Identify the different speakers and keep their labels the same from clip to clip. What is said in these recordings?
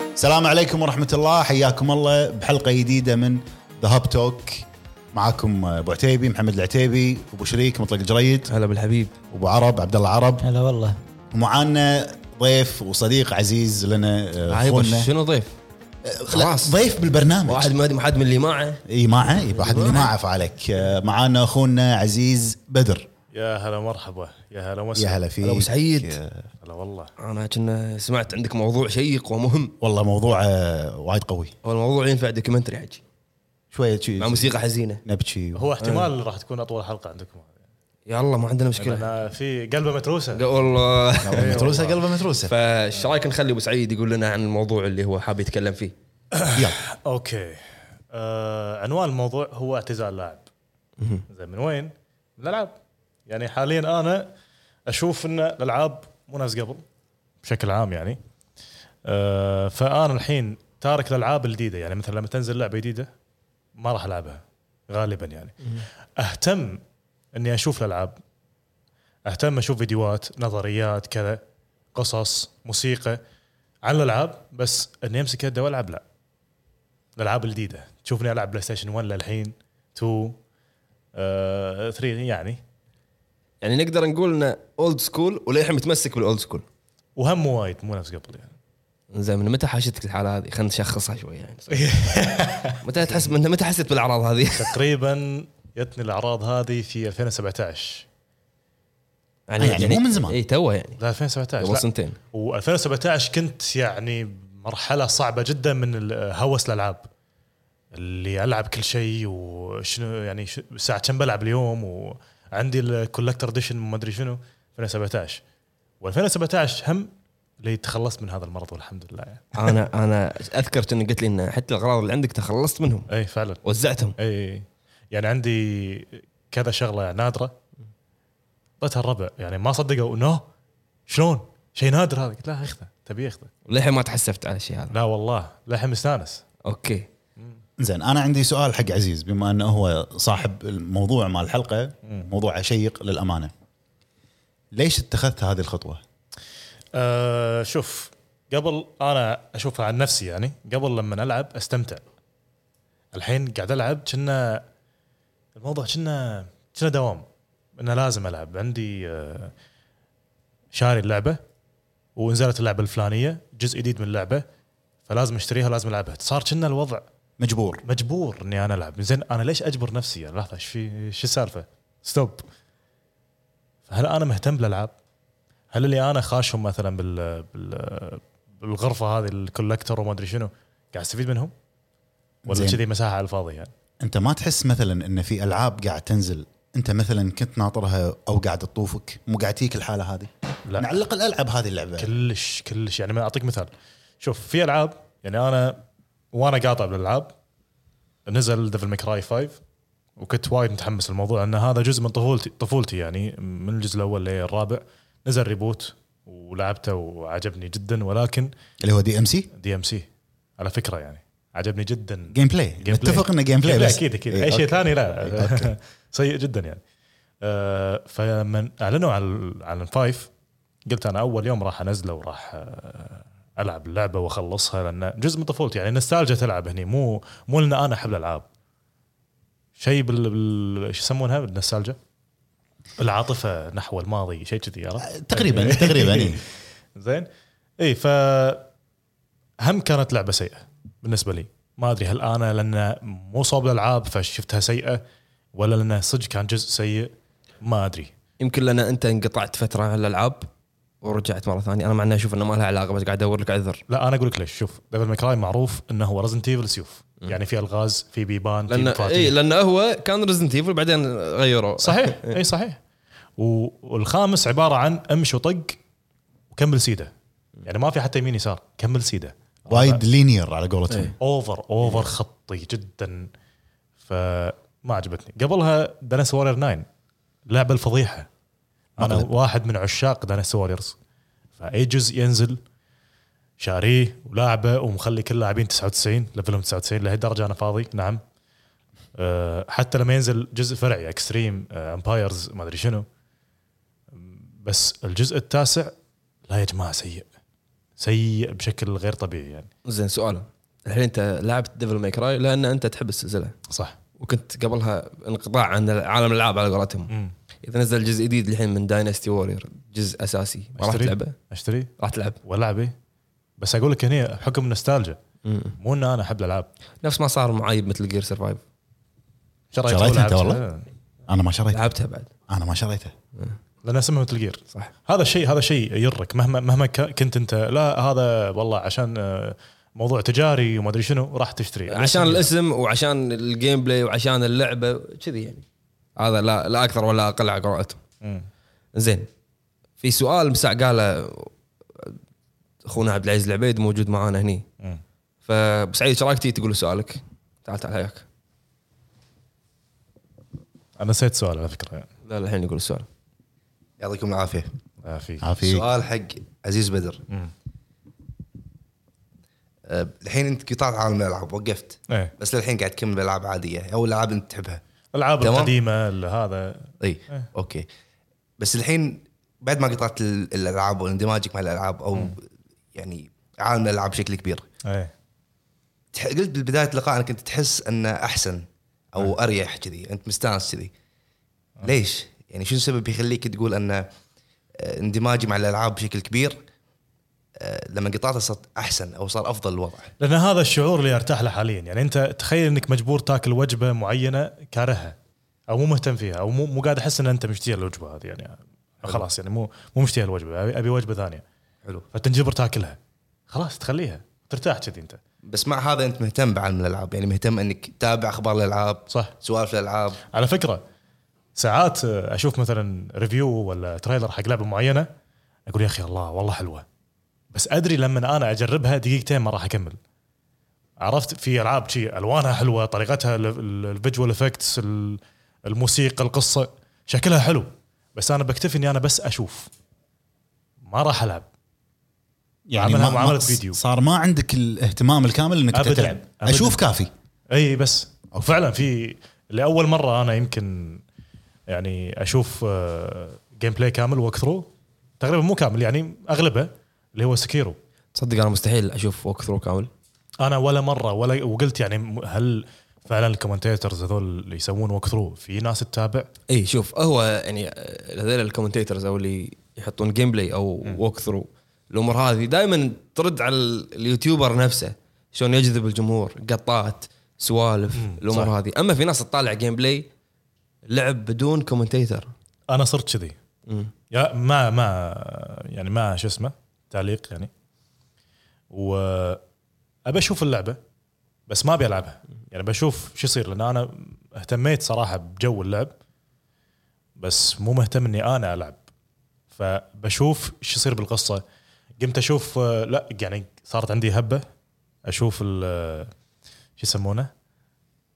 Speaker 1: السلام عليكم ورحمة الله حياكم الله بحلقة جديدة من ذا هاب توك معاكم ابو عتيبي محمد العتيبي ابو شريك مطلق جريد
Speaker 2: هلا بالحبيب
Speaker 1: ابو عرب عبد الله عرب
Speaker 3: هلا والله
Speaker 1: ومعانا ضيف وصديق عزيز لنا آه،
Speaker 2: عايبة
Speaker 1: اخونا
Speaker 2: شنو ضيف؟
Speaker 1: لا،
Speaker 2: خلاص
Speaker 1: ضيف بالبرنامج
Speaker 2: واحد ما حد من اللي معه
Speaker 1: اي معه اي واحد من ما عرف عليك آه، معانا اخونا عزيز بدر
Speaker 4: يا هلا مرحبا يا هلا
Speaker 1: يا
Speaker 4: وسهلا
Speaker 1: هلا فيك
Speaker 2: أبو سعيد.
Speaker 1: آه،
Speaker 4: هلا والله
Speaker 2: انا كنا سمعت عندك موضوع شيق ومهم
Speaker 1: والله موضوع آه، وايد قوي
Speaker 2: هو الموضوع ينفع دوكيومنتري حجي
Speaker 1: شويه شي-
Speaker 2: مع موسيقى حزينه
Speaker 1: نبكي
Speaker 4: هو احتمال راح تكون اطول حلقه عندكم
Speaker 2: يا الله ما عندنا مشكله
Speaker 4: لان في قلبه
Speaker 2: لا
Speaker 4: متروسه
Speaker 2: والله
Speaker 1: متروسه قلبه متروسه
Speaker 2: فايش رايك نخلي ابو سعيد يقول لنا عن الموضوع اللي هو حاب يتكلم فيه
Speaker 1: يلا
Speaker 4: اوكي آه عنوان الموضوع هو اعتزال لاعب زين من وين؟ من الالعاب يعني حاليا انا اشوف ان الالعاب مو ناس قبل بشكل عام يعني آه فانا الحين تارك الالعاب الجديده يعني مثلا لما تنزل لعبه جديده ما راح العبها غالبا يعني اهتم اني اشوف الالعاب اهتم اشوف فيديوهات نظريات كذا قصص موسيقى عن الالعاب بس اني امسك يده والعب لا الالعاب الجديده تشوفني العب بلاي ستيشن 1 للحين 2 آه، 3 يعني
Speaker 2: يعني نقدر نقول انه اولد سكول وللحين متمسك بالاولد سكول
Speaker 4: وهم وايد مو نفس قبل يعني
Speaker 2: زين من متى حاشتك الحاله هذه خلينا نشخصها شوي يعني متى تحس من متى حسيت بالاعراض هذه
Speaker 4: تقريبا جتني الاعراض هذه في 2017
Speaker 1: يعني مو من زمان.
Speaker 2: اي توه يعني
Speaker 4: لا 2017
Speaker 2: قبل
Speaker 4: لا
Speaker 2: سنتين
Speaker 4: و2017 كنت يعني مرحله صعبه جدا من ال- هوس الالعاب اللي العب كل شيء وشنو يعني ش- ساعه كم بلعب اليوم وعندي الكولكتر ديشن ما ادري شنو 2017 و2017 هم اللي تخلصت من هذا المرض والحمد لله يعني.
Speaker 2: انا انا اذكر انك قلت لي ان حتى الاغراض اللي عندك تخلصت منهم
Speaker 4: اي فعلا
Speaker 2: وزعتهم
Speaker 4: اي يعني عندي كذا شغله نادره اعطيتها الربع يعني ما صدقوا نو شلون شيء نادر هذا قلت لا اخذه تبي اخذه
Speaker 2: للحين ما تحسفت على الشيء هذا
Speaker 4: لا والله للحين مستانس
Speaker 2: اوكي
Speaker 1: زين انا عندي سؤال حق عزيز بما انه هو صاحب الموضوع مال الحلقه موضوع شيق للامانه ليش اتخذت هذه الخطوه؟
Speaker 4: أه شوف قبل انا اشوفها عن نفسي يعني قبل لما العب استمتع الحين قاعد العب كنا الموضوع كنا كنا دوام انه لازم العب عندي أه شاري اللعبه ونزلت اللعبه الفلانيه جزء جديد من اللعبه فلازم اشتريها لازم العبها صار كنا الوضع
Speaker 1: مجبور
Speaker 4: مجبور اني انا العب زين انا ليش اجبر نفسي يعني لحظه ايش في ايش السالفه؟ ستوب هل انا مهتم بالالعاب؟ هل اللي انا خاشهم مثلا بال, بال بالغرفه هذه الكولكتر وما ادري شنو قاعد استفيد منهم؟ ولا
Speaker 1: زين.
Speaker 4: كذي مساحه على الفاضي يعني؟
Speaker 1: انت ما تحس مثلا ان في العاب قاعد تنزل انت مثلا كنت ناطرها او قاعد تطوفك مو قاعد تجيك الحاله هذه
Speaker 4: لا.
Speaker 1: نعلق الالعاب هذه اللعبه
Speaker 4: كلش كلش يعني ما اعطيك مثال شوف في العاب يعني انا وانا قاطع بالالعاب نزل ديفل ماكراي 5 وكنت وايد متحمس الموضوع ان هذا جزء من طفولتي طفولتي يعني من الجزء الاول للرابع نزل ريبوت ولعبته وعجبني جدا ولكن
Speaker 1: اللي هو دي ام سي
Speaker 4: دي ام سي على فكره يعني عجبني جدا
Speaker 1: جيم بلاي
Speaker 4: Gameplay.
Speaker 1: نتفق انه جيم بلاي
Speaker 4: لا
Speaker 1: بس
Speaker 4: اكيد اكيد
Speaker 1: إيه،
Speaker 4: اي شيء
Speaker 1: أوكي.
Speaker 4: ثاني
Speaker 1: إيه، أوكي.
Speaker 4: لا سيء جدا يعني آه، فلما اعلنوا عن عن الفايف قلت انا اول يوم راح انزله وراح آه، العب اللعبه واخلصها لان جزء من طفولتي يعني نستالجا تلعب هني مو مو لان انا احب الالعاب شيء بال, بال... شو يسمونها بالنستالجا العاطفه نحو الماضي شيء كذي عرفت؟ يعني.
Speaker 1: تقريبا تقريبا إيه.
Speaker 4: زين اي ف هم كانت لعبه سيئه بالنسبه لي ما ادري هل انا لان مو صوب الالعاب فشفتها سيئه ولا لانه صدق كان جزء سيء ما ادري
Speaker 2: يمكن لان انت انقطعت فتره عن الالعاب ورجعت مره ثانيه انا مع اني اشوف انه ما لها علاقه بس قاعد ادور لك عذر
Speaker 4: لا انا اقول لك ليش شوف ديفل ماكراي معروف انه هو رزنت ايفل سيوف يعني في الغاز في بيبان في
Speaker 2: لان
Speaker 4: مفاتيح.
Speaker 2: اي لان إيه، هو كان ريزنت ايفل بعدين غيروه
Speaker 4: صحيح اي صحيح و- والخامس عباره عن امشي وطق وكمل سيده يعني ما في حتى يمين يسار كمل سيده
Speaker 1: وايد لينير على قولتهم
Speaker 2: إيه.
Speaker 4: اوفر اوفر خطي جدا فما عجبتني قبلها دانس وارير 9 لعبه الفضيحه انا
Speaker 1: مقلب.
Speaker 4: واحد من عشاق دانس واريرز فاي جزء ينزل شاريه ولاعبه ومخلي كل اللاعبين 99 ليفلهم 99 لهالدرجه انا فاضي نعم أه، حتى لما ينزل جزء فرعي اكستريم امبايرز ما ادري شنو بس الجزء التاسع لا يا جماعه سيء سيء بشكل غير طبيعي يعني
Speaker 2: زين سؤال الحين انت لعبت ديفل ماي كراي لان انت تحب السلسله
Speaker 4: صح
Speaker 2: وكنت قبلها انقطاع عن عالم الالعاب على قولتهم
Speaker 4: مم.
Speaker 2: اذا نزل جزء جديد الحين من داينستي وورير جزء اساسي ما راح
Speaker 4: أشتري؟
Speaker 2: تلعبه
Speaker 4: اشتري
Speaker 2: راح تلعب
Speaker 4: ولا العب إيه؟ بس اقول لك هنا بحكم النوستالجيا مو ان انا احب الالعاب
Speaker 2: نفس ما صار معاي مثل جير سرفايف
Speaker 4: شريت
Speaker 1: شريتها
Speaker 4: أول
Speaker 1: أنت
Speaker 4: لعبة.
Speaker 1: والله؟ انا ما شريته
Speaker 2: لعبتها بعد
Speaker 1: انا ما شريته
Speaker 4: لان اسمها مثل جير
Speaker 2: صح
Speaker 4: هذا الشيء هذا شيء يرك مهما مهما ك- كنت انت لا هذا والله عشان آه، موضوع تجاري وما ادري شنو راح تشتري
Speaker 2: عشان الاسم وعشان الجيم بلاي وعشان اللعبه كذي يعني هذا لا لا اكثر ولا اقل على قراءتهم
Speaker 4: مم.
Speaker 2: زين في سؤال مساع قاله اخونا عبد العزيز العبيد موجود معانا هني
Speaker 4: مم.
Speaker 2: فبسعيد ايش رايك تيجي تقول سؤالك؟ تعال تعال هياك
Speaker 4: انا نسيت سؤال على فكره
Speaker 2: لا لا، الحين يقول السؤال
Speaker 3: يعطيكم العافيه
Speaker 4: آه، في
Speaker 1: عافيك
Speaker 3: سؤال حق عزيز بدر
Speaker 4: مم.
Speaker 3: أه، الحين انت قطعت عالم الالعاب وقفت
Speaker 4: ايه
Speaker 3: بس للحين قاعد تكمل العاب عاديه او الالعاب انت تحبها
Speaker 4: الالعاب
Speaker 3: تمام.
Speaker 4: القديمه ال- هذا
Speaker 3: اي اوكي بس الحين بعد ما قطعت ال- الالعاب واندماجك مع الالعاب او يعني عالم الالعاب بشكل كبير
Speaker 4: ايه
Speaker 3: تح- قلت بالبدايه اللقاء انك انت تحس انه احسن
Speaker 2: نعم.
Speaker 3: او اريح كذي انت مستانس كذي
Speaker 2: آه.
Speaker 3: ليش؟ يعني شو السبب يخليك تقول ان آه، اندماجي مع الالعاب بشكل كبير آه، لما قطعتها صارت احسن او صار افضل الوضع
Speaker 4: لان هذا الشعور اللي ارتاح له حاليا يعني انت تخيل انك مجبور تاكل وجبه معينه كارهها او مو مهتم فيها او مو مو قاعد احس ان انت مشتهي الوجبه هذه يعني خلاص يعني مو مو مشتهي الوجبه أبي- ابي وجبه ثانيه
Speaker 3: حلو
Speaker 4: فتنجبر تاكلها خلاص تخليها ترتاح كذي انت
Speaker 3: بس مع هذا انت مهتم بعالم الالعاب يعني مهتم انك تتابع اخبار الالعاب
Speaker 4: صح
Speaker 3: سوالف الالعاب
Speaker 4: على فكره ساعات آه، اشوف مثلا ريفيو ولا تريلر حق لعبه معينه اقول يا اخي الله والله حلوه بس ادري لما انا اجربها دقيقتين ما راح اكمل عرفت في العاب شي الوانها حلوه طريقتها ال- ال- الفيجوال افكتس ال- الموسيقى القصه شكلها حلو بس انا بكتفي اني انا بس اشوف ما راح العب
Speaker 1: يعني
Speaker 4: عملها
Speaker 1: ما- ما-
Speaker 4: معاملة فيديو.
Speaker 1: صار ما عندك الاهتمام الكامل انك
Speaker 4: أبداً.
Speaker 1: تلعب
Speaker 4: أبداً.
Speaker 1: اشوف كافي
Speaker 4: اي بس وفعلا في لاول مره انا يمكن يعني اشوف جيم بلاي كامل ووك ثرو تقريبا مو كامل يعني اغلبه اللي هو سكيرو
Speaker 2: تصدق انا مستحيل اشوف ووك ثرو كامل
Speaker 4: انا ولا مره ولا وقلت يعني م- هل فعلا الكومنتيترز هذول اللي يسوون ووك ثرو في ناس تتابع
Speaker 2: اي إيه، شوف هو يعني آه، هذول الكومنتيترز او اللي يحطون جيم بلاي او ووك ثرو الامور هذه دائما ترد على ال- اليوتيوبر نفسه شلون يجذب الجمهور قطات سوالف الامور هذه اما في ناس تطالع جيم بلاي لعب بدون كومنتيتر
Speaker 4: انا صرت كذي يا ما ما يعني ما شو اسمه تعليق يعني و ابى اشوف اللعبه بس ما ابي العبها يعني بشوف شو يصير لان انا اهتميت صراحه بجو اللعب بس مو مهتم اني انا العب فبشوف شو يصير بالقصه قمت اشوف آه، لا يعني صارت عندي هبه اشوف ال- آه، شو يسمونه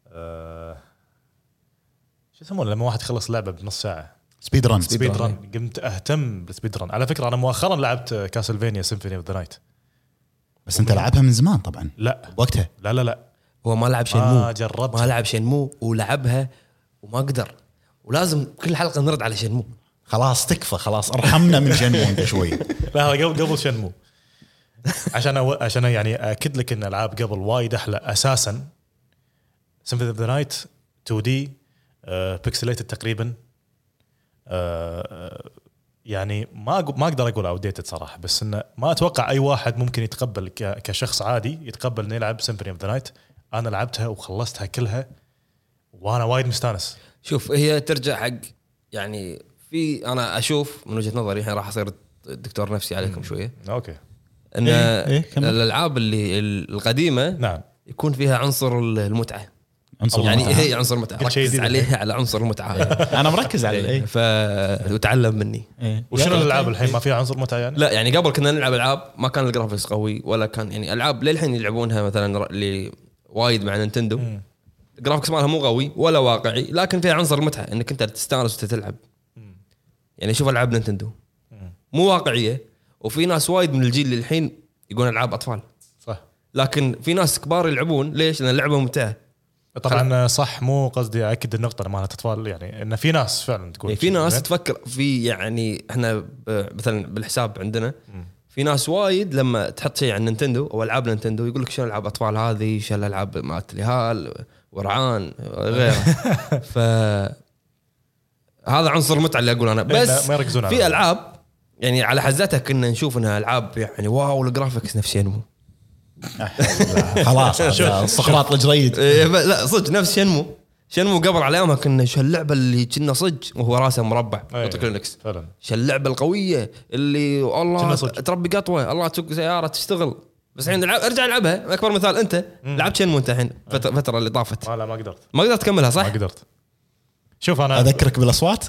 Speaker 4: آه، شو يسمونه لما واحد يخلص لعبه بنص ساعه
Speaker 1: سبيد ران
Speaker 4: سبيد ران قمت اهتم بالسبيد ران على فكره انا مؤخرا لعبت كاسلفينيا سيمفوني اوف ذا نايت
Speaker 1: بس انت لعبها من زمان طبعا
Speaker 4: لا
Speaker 1: وقتها
Speaker 4: لا لا لا
Speaker 2: هو ما لعب
Speaker 4: ما
Speaker 2: شنمو
Speaker 4: جربت
Speaker 2: ما لعب شنمو ولعبها وما قدر ولازم كل حلقه نرد على شنمو
Speaker 1: خلاص تكفى خلاص ارحمنا من جنمو انت شوي
Speaker 4: لا هذا قبل قبل شنمو عشان أو... عشان يعني اكد لك ان العاب قبل وايد احلى اساسا سيمفوني اوف ذا نايت 2 دي بيكسليتد تقريبا آه، آه، يعني ما أق- ما اقدر اقول اوديتد صراحه بس انه ما اتوقع اي واحد ممكن يتقبل ك... كشخص عادي يتقبل انه يلعب سيمفوني اوف ذا نايت انا لعبتها وخلصتها كلها وانا وايد مستانس
Speaker 2: شوف هي ترجع حق يعني في انا اشوف من وجهه نظري الحين راح اصير دكتور نفسي عليكم شويه
Speaker 4: اوكي
Speaker 2: ان
Speaker 1: إيه، إيه، كمل.
Speaker 2: الالعاب اللي القديمه
Speaker 4: نعم
Speaker 2: يكون فيها عنصر المتعه
Speaker 1: عنصر
Speaker 2: يعني
Speaker 1: المتعة.
Speaker 2: هي عنصر المتعه
Speaker 4: كل شيء
Speaker 2: ركز
Speaker 4: جديد.
Speaker 2: عليها على عنصر المتعه
Speaker 1: انا مركز عليه
Speaker 2: ف وتعلم مني
Speaker 4: وشنو الالعاب الحين ما فيها عنصر متعه يعني؟
Speaker 2: لا يعني قبل كنا نلعب العاب ما كان الجرافيكس قوي ولا كان يعني العاب للحين يلعبونها مثلا ر- اللي وايد مع نينتندو الجرافيكس مالها مو قوي ولا واقعي لكن فيها عنصر متعه انك انت تستانس وانت تلعب يعني شوف العاب نينتندو مو واقعيه وفي ناس وايد من الجيل اللي الحين يقولون العاب اطفال
Speaker 4: صح
Speaker 2: لكن في ناس كبار يلعبون ليش؟ لان اللعبه ممتعه
Speaker 4: طبعا آه، صح مو قصدي اكد النقطه أنا مالت اطفال يعني ان في ناس فعلا تقول
Speaker 2: يعني في إيه، ناس
Speaker 4: زين؟
Speaker 2: تفكر في يعني احنا ب- مثلا بالحساب عندنا في ناس وايد لما تحط شيء عن نينتندو او العاب نينتندو يقول لك شنو العاب اطفال هذه شنو الالعاب مالت اليهال ورعان غيره ف هذا عنصر متعه اللي اقول انا
Speaker 4: إيه،
Speaker 2: بس
Speaker 4: ما يركزون على
Speaker 2: في
Speaker 4: هذا.
Speaker 2: العاب يعني على حزتها كنا نشوف انها العاب يعني واو الجرافكس نفس شنمو
Speaker 1: خلاص هذا الصخرات الجريد
Speaker 2: إيه، ب- لا صدق نفس شنمو شنمو قبل على ايامها كنا شو اللعبه اللي كنا صدق وهو راسه مربع
Speaker 4: أي.
Speaker 2: يعطيك لينكس
Speaker 4: فعلا
Speaker 2: شو اللعبه القويه اللي الله
Speaker 4: كنا صدق.
Speaker 2: تربي قطوه الله تسوق سياره تشتغل بس الحين العب ارجع العبها اكبر مثال انت لعبت شنمو انت الحين فت- فتره اللي طافت
Speaker 4: ما لا ما قدرت
Speaker 2: ما قدرت تكملها
Speaker 4: إيه. ما
Speaker 2: صح؟
Speaker 4: قدرت شوف انا
Speaker 1: اذكرك بالاصوات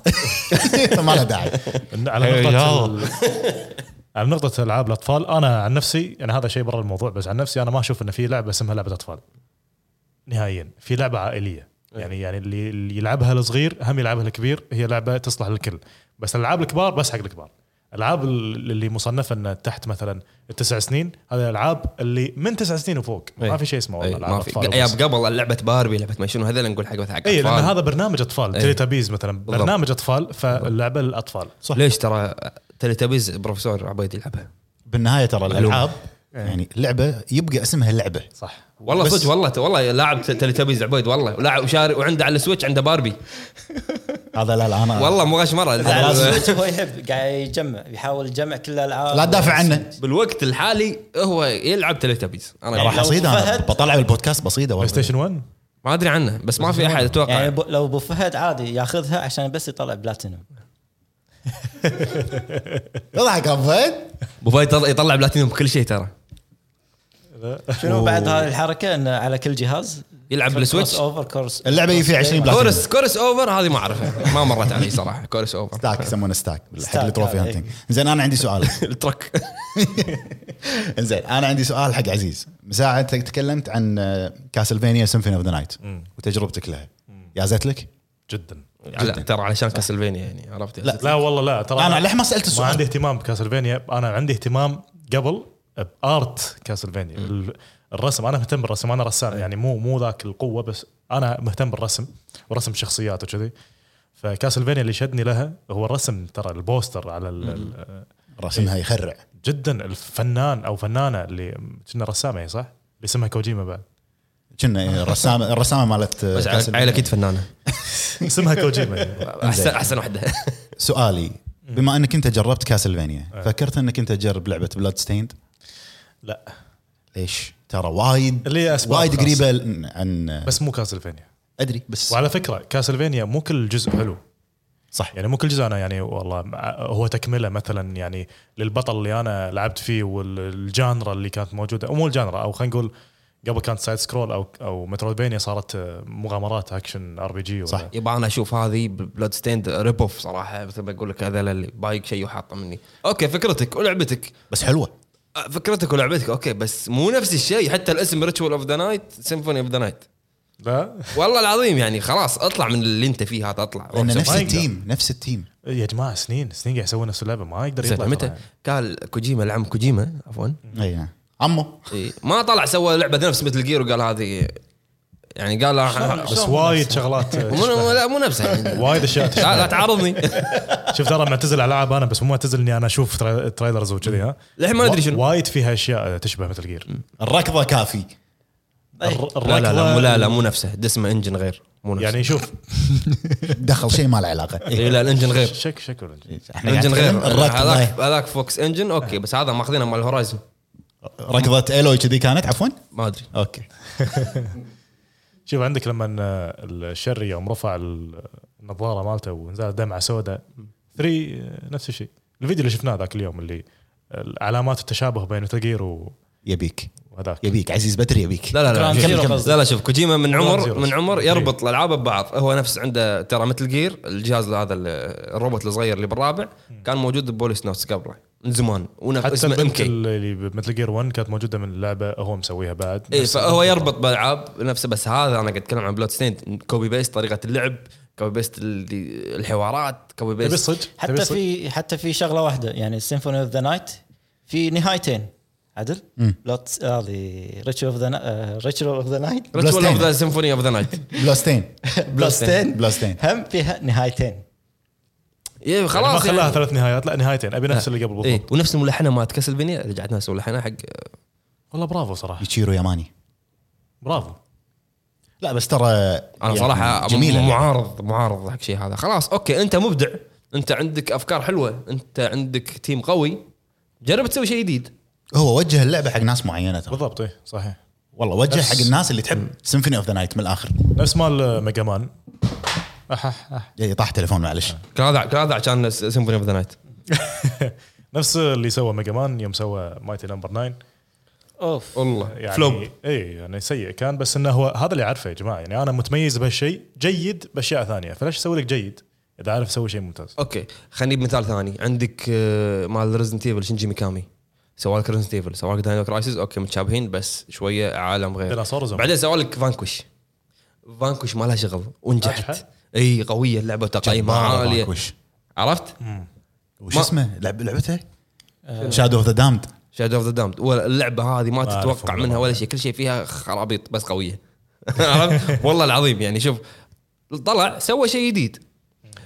Speaker 1: ما له داعي
Speaker 4: على
Speaker 5: إيه،
Speaker 4: نقطة
Speaker 5: يلا.
Speaker 4: ال- على نقطة العاب الاطفال انا عن نفسي يعني هذا شيء برا الموضوع بس عن نفسي انا ما اشوف ان في لعبة اسمها لعبة اطفال نهائيا في لعبة عائلية
Speaker 2: إيه.
Speaker 4: يعني يعني اللي اللي يلعبها الصغير هم يلعبها الكبير هي لعبة تصلح للكل بس الالعاب الكبار بس حق الكبار الالعاب ال- اللي مصنفة ان تحت مثلا التسع سنين هذه الالعاب اللي من تسع سنين وفوق
Speaker 2: إيه.
Speaker 4: ما في شيء اسمه
Speaker 2: أي،
Speaker 4: والله
Speaker 2: ما
Speaker 4: ألعاب
Speaker 2: في
Speaker 4: أطفال
Speaker 2: ايام
Speaker 4: وبس.
Speaker 2: قبل لعبه باربي لعبه ما شنو هذول نقول حق مثلا حق
Speaker 4: اي لان
Speaker 2: أطفال.
Speaker 4: إيه، هذا برنامج اطفال
Speaker 2: إيه.
Speaker 4: تيليتابيز مثلا
Speaker 2: بالضبط.
Speaker 4: برنامج اطفال فاللعبه للاطفال
Speaker 2: ليش ترى تلتابيز بروفيسور عبيد يلعبها
Speaker 1: بالنهايه ترى الالعاب يعني اللعبه يبقى اسمها لعبه
Speaker 4: صح
Speaker 2: والله
Speaker 1: بس-
Speaker 2: صدق والله والله لاعب تلتابيز عبيد والله ولاعب وشاري وعنده على السويتش عنده باربي
Speaker 1: هذا لا لا انا
Speaker 2: آه. والله مو غش مره
Speaker 1: لازم.
Speaker 6: هو يحب قاعد يجمع يحاول يجمع كل الالعاب
Speaker 1: لا تدافع عنه
Speaker 2: بالوقت الحالي هو يلعب تلتابيز انا
Speaker 1: راح
Speaker 6: لو
Speaker 1: اصيد انا
Speaker 6: فهد-
Speaker 1: بطلع بالبودكاست بصيده
Speaker 4: بلاي
Speaker 1: والله
Speaker 4: ستيشن 1
Speaker 2: يعني ما ادري عنه بس ما في احد اتوقع
Speaker 6: يعني ب- لو ابو فهد عادي ياخذها عشان بس يطلع بلاتينوم
Speaker 1: اضحك ابو فهد
Speaker 2: ابو فهد يطلع- يطلع بلاتينيوم بكل شيء ترى
Speaker 6: شنو بعد هذه الحركه انه على كل طيب. جهاز
Speaker 2: يلعب بالسويتش
Speaker 6: كروس اوفر كورس
Speaker 1: اللعبه هي فيها 20 بلاك
Speaker 2: كورس كورس اوفر هذه ما اعرفها ما مرت علي صراحه كورس اوفر
Speaker 1: ستاك يسمونه ستاك حق
Speaker 6: ستاك،
Speaker 1: التروفي
Speaker 6: آه،
Speaker 1: هانتنج زين انا عندي سؤال
Speaker 2: الترك
Speaker 1: زين انا عندي سؤال حق عزيز مساعد تكلمت عن آه، كاسلفينيا سيمفوني اوف ذا نايت وتجربتك لها يا زت لك
Speaker 4: جدا
Speaker 2: على- ترى علشان كاسلفينيا يعني عرفت
Speaker 1: يعني لا.
Speaker 4: لا والله لا ترى
Speaker 1: انا ليه ما سالت
Speaker 4: ما عندي
Speaker 1: السؤال
Speaker 4: اهتمام بكاسلفينيا انا عندي اهتمام قبل بارت كاسلفينيا ال- الرسم انا مهتم بالرسم انا رسام يعني مو مو ذاك القوه بس انا مهتم بالرسم ورسم شخصيات وكذي فكاسلفينيا اللي شدني لها هو الرسم ترى البوستر على ال- ال-
Speaker 2: إيه.
Speaker 1: رسمها يخرع
Speaker 4: جدا الفنان او فنانه اللي كنا رسامه هي صح؟ اللي اسمها كوجيما بعد
Speaker 1: كنا الرسامه الرسامه مالت آه،
Speaker 2: بس
Speaker 1: Castlevania.
Speaker 2: عائله اكيد فنانه
Speaker 4: اسمها كوجيما
Speaker 2: احسن احسن واحده
Speaker 1: سؤالي بما انك انت جربت
Speaker 2: إيه.
Speaker 1: كاسلفينيا فكرت انك انت تجرب لعبه بلاد ستيند
Speaker 4: لا
Speaker 1: ليش ترى وايد
Speaker 4: اللي هي أسباب
Speaker 1: وايد
Speaker 4: خاصة.
Speaker 1: قريبه ل- عن
Speaker 4: بس مو كاسلفينيا
Speaker 1: ادري بس
Speaker 4: وعلى فكره كاسلفينيا مو كل جزء حلو
Speaker 1: صح
Speaker 4: يعني مو كل جزء انا يعني والله مع- هو تكمله مثلا يعني للبطل اللي انا لعبت فيه والجانرا اللي كانت موجوده او مو الجانرا او خلينا نقول قبل كانت سايد سكرول او او مترويدفينيا صارت آه، مغامرات اكشن ار بي جي
Speaker 1: صح.
Speaker 2: يبا انا اشوف هذه بلود ستيند ريب اوف صراحه مثل ما اقول لك هذا اللي بايق شيء وحاطه مني اوكي فكرتك ولعبتك
Speaker 1: بس حلوه
Speaker 2: آه، فكرتك ولعبتك اوكي بس مو نفس الشيء حتى الاسم ريتشوال اوف ذا نايت سيمفوني اوف ذا نايت
Speaker 4: لا
Speaker 2: والله العظيم يعني خلاص اطلع من اللي انت فيه هذا اطلع
Speaker 1: لان نفس
Speaker 4: ما يقدر.
Speaker 1: التيم نفس التيم
Speaker 4: يا جماعه سنين سنين قاعد يسوون نفس اللعبه ما يقدر يطلع
Speaker 2: زين متى
Speaker 4: ترى.
Speaker 2: قال كوجيما العم كوجيما عفوا
Speaker 1: اي نعم. عمو
Speaker 2: إي، ما طلع سوى لعبه نفس مثل جير وقال هذه يعني قال راح-
Speaker 4: بس وايد شغلات آه،
Speaker 2: مو
Speaker 4: تشبه.
Speaker 2: لا مو نفسها يعني.
Speaker 4: وايد اشياء
Speaker 2: لا
Speaker 4: تشبه.
Speaker 2: لا تعارضني
Speaker 4: شوف ترى معتزل العاب انا بس مو معتزل اني انا اشوف ترا- تريلرز وكذي ها
Speaker 2: للحين ما ندري شنو.
Speaker 4: وايد فيها اشياء آه، تشبه مثل جير
Speaker 1: الركضه كافي
Speaker 2: لا لا لا مو لا لا مو نفسه دسمه انجن غير مو نفسه
Speaker 4: يعني شوف
Speaker 1: دخل شيء ما له علاقه
Speaker 2: إي، لا الانجن غير
Speaker 4: شك شكل
Speaker 1: احنا قاعد
Speaker 2: انجن
Speaker 1: نتكلم
Speaker 2: إيه. غير هذاك
Speaker 1: الركضه
Speaker 2: هذاك فوكس انجن اوكي بس هذا ماخذينه مال هورايزن
Speaker 1: ركضه الوي كذي كانت عفوا
Speaker 2: ما ادري
Speaker 1: اوكي
Speaker 4: شوف عندك لما الشر يوم رفع النظاره مالته ونزل دمعه سوداء 3 نفس الشيء الفيديو اللي شفناه ذاك اليوم اللي علامات التشابه بين متل
Speaker 1: يبيك
Speaker 4: وهذاك
Speaker 1: يبيك عزيز بدري يبيك
Speaker 2: لا لا لا
Speaker 6: Ground
Speaker 2: شوف-
Speaker 6: Zero
Speaker 2: شوف-
Speaker 6: قصدك.
Speaker 2: لا لا شوف كوجيما من عمر
Speaker 4: Zero.
Speaker 2: من عمر يربط الالعاب ببعض هو نفس عنده ترى مثل جير الجهاز هذا ال- الروبوت الصغير اللي بالرابع كان موجود ببوليس نوتس قبله من زمان ونفس
Speaker 4: حتى
Speaker 2: اسمه ام
Speaker 4: البنت
Speaker 2: كي
Speaker 4: اللي بمتل جير 1 كانت موجوده من اللعبه هو مسويها بعد يعني
Speaker 2: اي
Speaker 4: نفس-
Speaker 2: فهو يربط بالالعاب نفسه بس هذا انا قاعد اتكلم عن بلود ستيند كوبي بيست طريقه اللعب كوبي بيست ال- الحوارات كوبي
Speaker 4: تبي
Speaker 2: بيست
Speaker 4: الصدق
Speaker 6: حتى في حتى في شغله واحده يعني سيمفوني اوف ذا نايت في نهايتين عدل؟ لوت هذه ريتشل اوف ذا ريتشل اوف ذا نايت
Speaker 2: ريتشوال اوف
Speaker 1: Bloodstained.
Speaker 2: ذا سيمفوني اوف ذا نايت
Speaker 1: بلاستين
Speaker 6: بلوستين
Speaker 1: بلاستين.
Speaker 6: هم فيها نهايتين
Speaker 2: إيه
Speaker 4: خلاص ما
Speaker 2: خلاص
Speaker 4: خلاها
Speaker 2: يعني.
Speaker 4: ثلاث نهايات لا نهايتين ابي نفس
Speaker 2: آه.
Speaker 4: اللي قبل بالضبط
Speaker 2: إيه ونفس الملحنه مالت كاسلفينيا رجعت نفس الملحنه حق
Speaker 4: والله برافو صراحه
Speaker 1: يتشيرو ياماني
Speaker 4: برافو
Speaker 1: لا بس ترى
Speaker 2: انا
Speaker 1: يعني جميله
Speaker 2: صراحه جميلة
Speaker 1: اللعبة.
Speaker 2: معارض معارض حق شيء هذا خلاص اوكي انت مبدع انت عندك افكار حلوه انت عندك تيم قوي جرب تسوي شيء جديد
Speaker 1: هو وجه اللعبه حق ناس معينه ترى
Speaker 4: بالضبط اي صحيح
Speaker 1: والله وجه
Speaker 4: بس-
Speaker 1: حق الناس اللي تحب سيمفوني اوف ذا نايت من الاخر
Speaker 4: نفس مال ميجا مان أح أح أح.
Speaker 1: يعني طاح تليفون معلش
Speaker 2: كلاذع كلاذع كان سيمفوني اوف ذا نايت
Speaker 4: نفس اللي سوى ميجا مان يوم سوى مايتي نمبر 9
Speaker 6: اوف
Speaker 2: والله
Speaker 4: يعني
Speaker 2: فلوب
Speaker 4: اي يعني سيء كان بس انه هو هذا اللي اعرفه يا جماعه يعني انا متميز بهالشيء جيد باشياء ثانيه فليش اسوي لك جيد اذا عارف اسوي شيء ممتاز
Speaker 2: اوكي خليني بمثال ثاني عندك آه، مال ريزنت ايفل شنجي ميكامي سوالك ريزنت ايفل سوالك داينو كرايسيس اوكي متشابهين بس شويه عالم غير
Speaker 4: ديناصور وزومبي.
Speaker 2: بعدين سوالك فانكوش فانكوش ما لها شغل ونجحت
Speaker 4: ناجحة؟
Speaker 2: اي قويه اللعبه تقييمها
Speaker 1: جبارة
Speaker 2: عاليه
Speaker 1: ماكوش.
Speaker 2: عرفت؟
Speaker 1: وش
Speaker 2: ما- آه.
Speaker 1: اسمه لعب لعبته شادو اوف ذا دامد
Speaker 2: شادو اوف ذا دامد اللعبه هذه ما
Speaker 4: أعرف
Speaker 2: تتوقع
Speaker 4: والله.
Speaker 2: منها ولا شيء كل شيء فيها خرابيط بس قويه عرفت؟ والله العظيم يعني شوف طلع سوى شيء جديد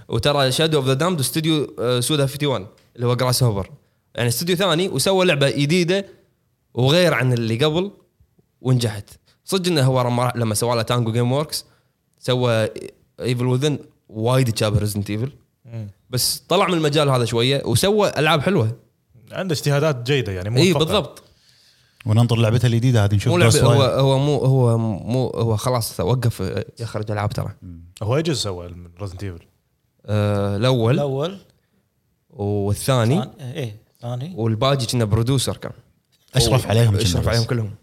Speaker 2: وترى شادو اوف ذا دامد استوديو آه، سودا 51 اللي هو جراس هوفر يعني استوديو ثاني وسوى لعبه جديده وغير عن اللي قبل ونجحت صدق انه هو لما- لما سوى له تانجو جيم وركس سوى ايفل وذن وايد يتشابه ريزنت ايفل بس طلع من المجال هذا شويه وسوى العاب حلوه
Speaker 4: عنده اجتهادات جيده يعني
Speaker 2: اي
Speaker 4: موفقة.
Speaker 2: إيه، بالضبط
Speaker 1: وننطر لعبته الجديده هذه نشوف
Speaker 2: مو لعبه
Speaker 1: Ghost
Speaker 2: هو
Speaker 1: Wire.
Speaker 2: هو مو هو مو هو خلاص وقف آه، يخرج العاب ترى
Speaker 4: هو يجوز سوى من ريزنت ايفل
Speaker 2: آه، الاول
Speaker 6: الاول
Speaker 2: والثاني
Speaker 6: ثاني- ايه ثاني
Speaker 2: والباقي كنا برودوسر كان
Speaker 1: اشرف عليهم
Speaker 2: اشرف عليهم كلهم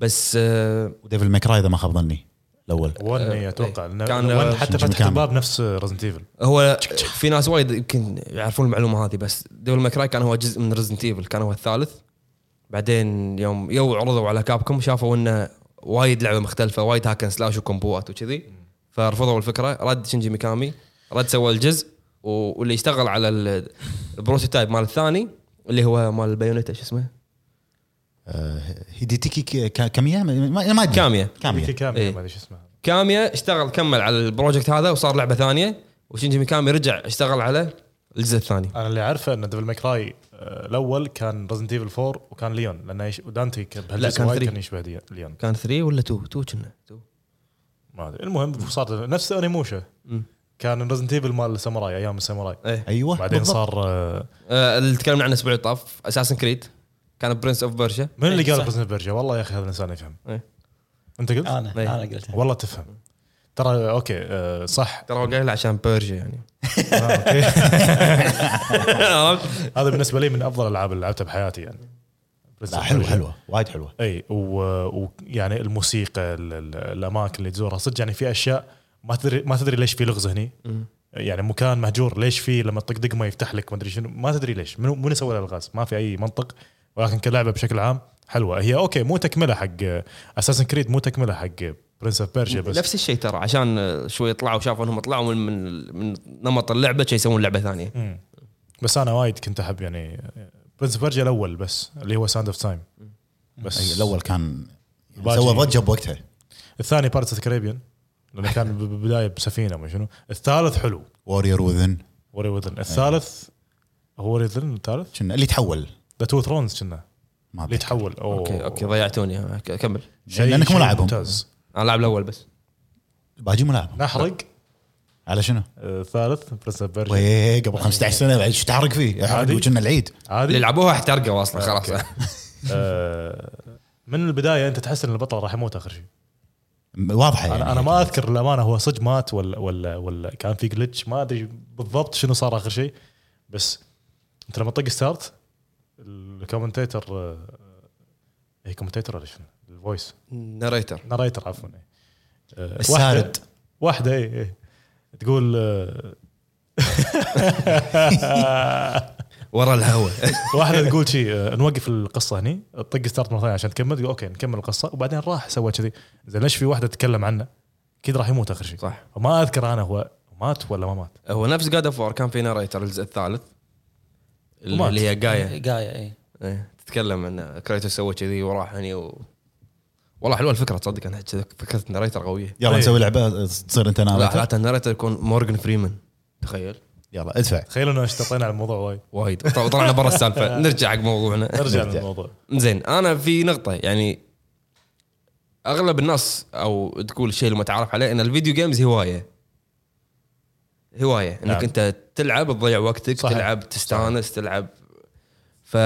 Speaker 2: بس آه،
Speaker 1: وديفل ماكراي اذا ما خاب ظني الاول
Speaker 4: ون اتوقع لأنه
Speaker 2: إيه. كان-
Speaker 4: ون حتى
Speaker 1: شنجي
Speaker 4: فتحت
Speaker 1: ميكامي.
Speaker 4: الباب نفس ريزنت ايفل
Speaker 2: هو في ناس وايد يمكن يعرفون المعلومه هذه بس ديفل ماكراي كان هو جزء من ريزنت ايفل كان هو الثالث بعدين يوم يو عرضوا على كابكم شافوا انه وايد لعبه مختلفه وايد هاكن سلاش وكومبوات وكذي فرفضوا الفكره رد شنجي ميكامي رد سوى الجزء و- واللي اشتغل على ال- البروتوتايب مال الثاني اللي هو مال البايونيتا شو اسمه؟
Speaker 1: آه، هيديتيكي كي- كا- كاميا ما- ما ما ادري
Speaker 2: كاميا
Speaker 1: كاميا
Speaker 4: كامية
Speaker 2: إيه.
Speaker 4: ما ادري شو اسمها
Speaker 2: كاميا اشتغل كمل على البروجكت هذا وصار لعبه ثانيه وشنجي ميكامي رجع اشتغل على الجزء الثاني
Speaker 4: انا اللي اعرفه ان ديفل ماكراي الاول آه، كان ريزنت ايفل 4 وكان ليون لانه يش... ودانتي كان بهالجزء
Speaker 2: كان
Speaker 4: وايد
Speaker 2: three.
Speaker 4: كان يشبه دي- ليون
Speaker 2: كان 3 ولا 2 2 كنا 2
Speaker 4: ما ادري المهم صار نفس اونيموشا كان ريزنت ايفل مال الساموراي ايام الساموراي
Speaker 2: ايه
Speaker 1: ايوه
Speaker 4: بعدين
Speaker 1: بالضبط.
Speaker 4: صار آه،
Speaker 2: آه، اللي تكلمنا عنه الاسبوع اللي طاف اساسن كريد كان برنس اوف بيرشا
Speaker 4: من اللي
Speaker 6: إيه،
Speaker 4: قال
Speaker 6: صح.
Speaker 4: برزن برجر والله يا اخي هذا الانسان يفهم
Speaker 2: إيه.
Speaker 4: انت قلت؟
Speaker 6: انا
Speaker 2: إيه.
Speaker 6: انا قلتها
Speaker 4: والله تفهم ترى اوكي آه، صح
Speaker 2: ترى هو قايل عشان بيرجا يعني
Speaker 4: آه، أوكي.
Speaker 2: عرفت؟
Speaker 4: هذا بالنسبه لي من افضل الالعاب اللي لعبتها بحياتي يعني
Speaker 1: لا حلوه حلوه وايد حلوه
Speaker 4: اي و- ويعني الموسيقى ال- ال- الاماكن اللي تزورها صدق يعني في اشياء ما تدري ما تدري ليش في لغز هني يعني مكان مهجور ليش في لما تطق دقمه يفتح لك ما ادري شنو ما تدري ليش منو منو سوى له الغاز ما في اي منطق ولكن كلعبه بشكل عام حلوه هي اوكي مو تكمله حق اساسن كريد مو تكمله حق برنس اوف بيرجيا بس
Speaker 2: نفس الشيء ترى عشان آه، شوي طلعوا شافوا انهم طلعوا من من, من نمط اللعبه شي يسوون لعبه ثانيه
Speaker 4: مم. بس انا وايد كنت احب يعني برنس اوف بيرجيا الاول بس اللي هو ساند اوف تايم
Speaker 1: أي،
Speaker 4: بس
Speaker 1: الاول كان
Speaker 4: باجي-
Speaker 1: سوى ضجه بوقتها
Speaker 4: الثاني بارتس كاريبيان لانه كان بالبدايه بسفينه ما شنو الثالث حلو
Speaker 1: وورير وذن
Speaker 4: وري
Speaker 1: أيوة.
Speaker 4: وذن الثالث هو وري وذن الثالث
Speaker 1: كنا اللي تحول
Speaker 4: ذا تو ثرونز كنا
Speaker 1: ما
Speaker 4: اللي
Speaker 1: أدري.
Speaker 4: تحول أوه.
Speaker 2: اوكي اوكي ضيعتوني آه، ك- كمل
Speaker 4: شيء-
Speaker 1: لأنك مو
Speaker 4: شيء
Speaker 1: لاعبهم.
Speaker 4: ممتاز
Speaker 2: انا العب الاول بس
Speaker 1: باجي ملاعب
Speaker 4: نحرق
Speaker 1: على شنو؟
Speaker 4: آه، الثالث برنس اوف بيرجيا
Speaker 1: وي قبل 15 سنه بعد شو تحرق فيه؟
Speaker 4: عادي.
Speaker 1: كنا العيد
Speaker 2: اللي
Speaker 4: عادي
Speaker 2: لعبوها احترقوا اصلا خلاص
Speaker 4: أوكي. آه، من البدايه انت تحس ان البطل راح يموت اخر شيء
Speaker 1: واضحه يعني
Speaker 4: انا انا ما اذكر الامانه هو صدق مات ولا ولا ولا كان في جلتش ما ادري بالضبط شنو صار اخر شيء بس انت لما تطق ستارت الكومنتيتر آه، هي كومنتيتر ولا شنو؟ الفويس
Speaker 2: ناريتر
Speaker 4: ناريتر عفوا إيه. آه،
Speaker 1: السارد.
Speaker 4: واحدة- واحده اي اي تقول آه،
Speaker 2: ورا الهواء
Speaker 4: واحده تقول شي آه، نوقف القصه هني طق ستارت مره ثانيه عشان تكمل تقول اوكي نكمل القصه وبعدين راح سوى كذي زين ليش في واحده تتكلم عنه؟ اكيد راح يموت اخر شيء
Speaker 2: صح.
Speaker 4: ما اذكر انا هو مات ولا ما مات
Speaker 2: هو نفس جاد اوف كان في ناريتر الجزء الثالث
Speaker 4: ومات.
Speaker 2: اللي هي جايه
Speaker 6: قاية اي
Speaker 2: إيه، تتكلم ان كريتوس سوى كذي وراح هني و... والله حلوه الفكره تصدق انا فكره
Speaker 4: إيه.
Speaker 2: الناريتر قويه
Speaker 1: يلا نسوي لعبه تصير انت
Speaker 2: لا
Speaker 1: ناريتر
Speaker 2: حتى الناريتر يكون مورجن فريمان تخيل
Speaker 1: يلا ادفع
Speaker 4: تخيل انه اشتطينا على الموضوع وايد
Speaker 2: وايد وط- وطلعنا برا السالفه نرجع حق موضوعنا
Speaker 4: نرجع
Speaker 1: نرجع.
Speaker 4: للموضوع
Speaker 2: زين انا في نقطه يعني اغلب الناس او تقول الشيء المتعارف عليه ان الفيديو جيمز هوايه هوايه انك
Speaker 4: نعم.
Speaker 2: نعم. انت تلعب تضيع وقتك
Speaker 4: صحيح.
Speaker 2: صحيح. تلعب تستانس صحيح. تلعب ف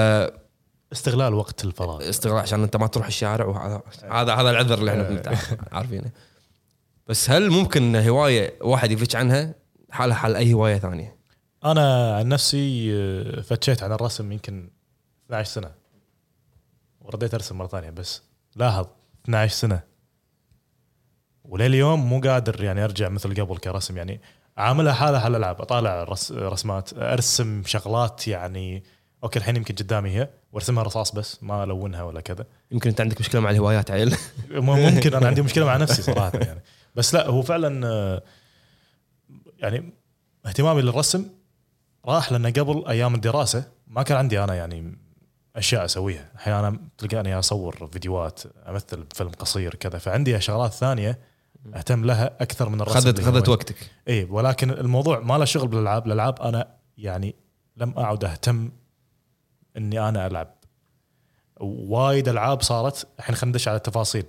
Speaker 4: استغلال وقت الفراغ
Speaker 2: استغلال عشان انت ما تروح الشارع وهذا هذا هذا العذر اللي احنا بنتع- عارفينه بس هل ممكن إن هوايه واحد يفتش عنها حالها حال اي هوايه ثانيه؟
Speaker 4: انا عن نفسي آه، فتشيت عن الرسم يمكن 12 سنه ورديت ارسم مره ثانيه بس لاحظ 12 سنه ولليوم مو قادر يعني ارجع مثل قبل كرسم يعني عاملها حالها على الالعاب اطالع رس رسمات ارسم شغلات يعني اوكي الحين يمكن قدامي هي وارسمها رصاص بس ما الونها ولا كذا
Speaker 2: يمكن انت عندك مشكله مع الهوايات عيل
Speaker 4: م- ممكن انا عندي مشكله مع نفسي صراحه يعني بس لا هو فعلا آه، يعني اهتمامي للرسم راح لانه قبل ايام الدراسه ما كان عندي انا يعني اشياء اسويها احيانا تلقاني اصور فيديوهات امثل فيلم قصير كذا فعندي شغلات ثانيه اهتم لها اكثر من الرسم
Speaker 2: خذت
Speaker 4: اللي هو-
Speaker 2: خذت وقتك
Speaker 4: اي إيه، ولكن الموضوع ما له شغل بالالعاب الالعاب انا يعني لم اعد اهتم اني انا العب وايد العاب صارت الحين خلينا ندش على التفاصيل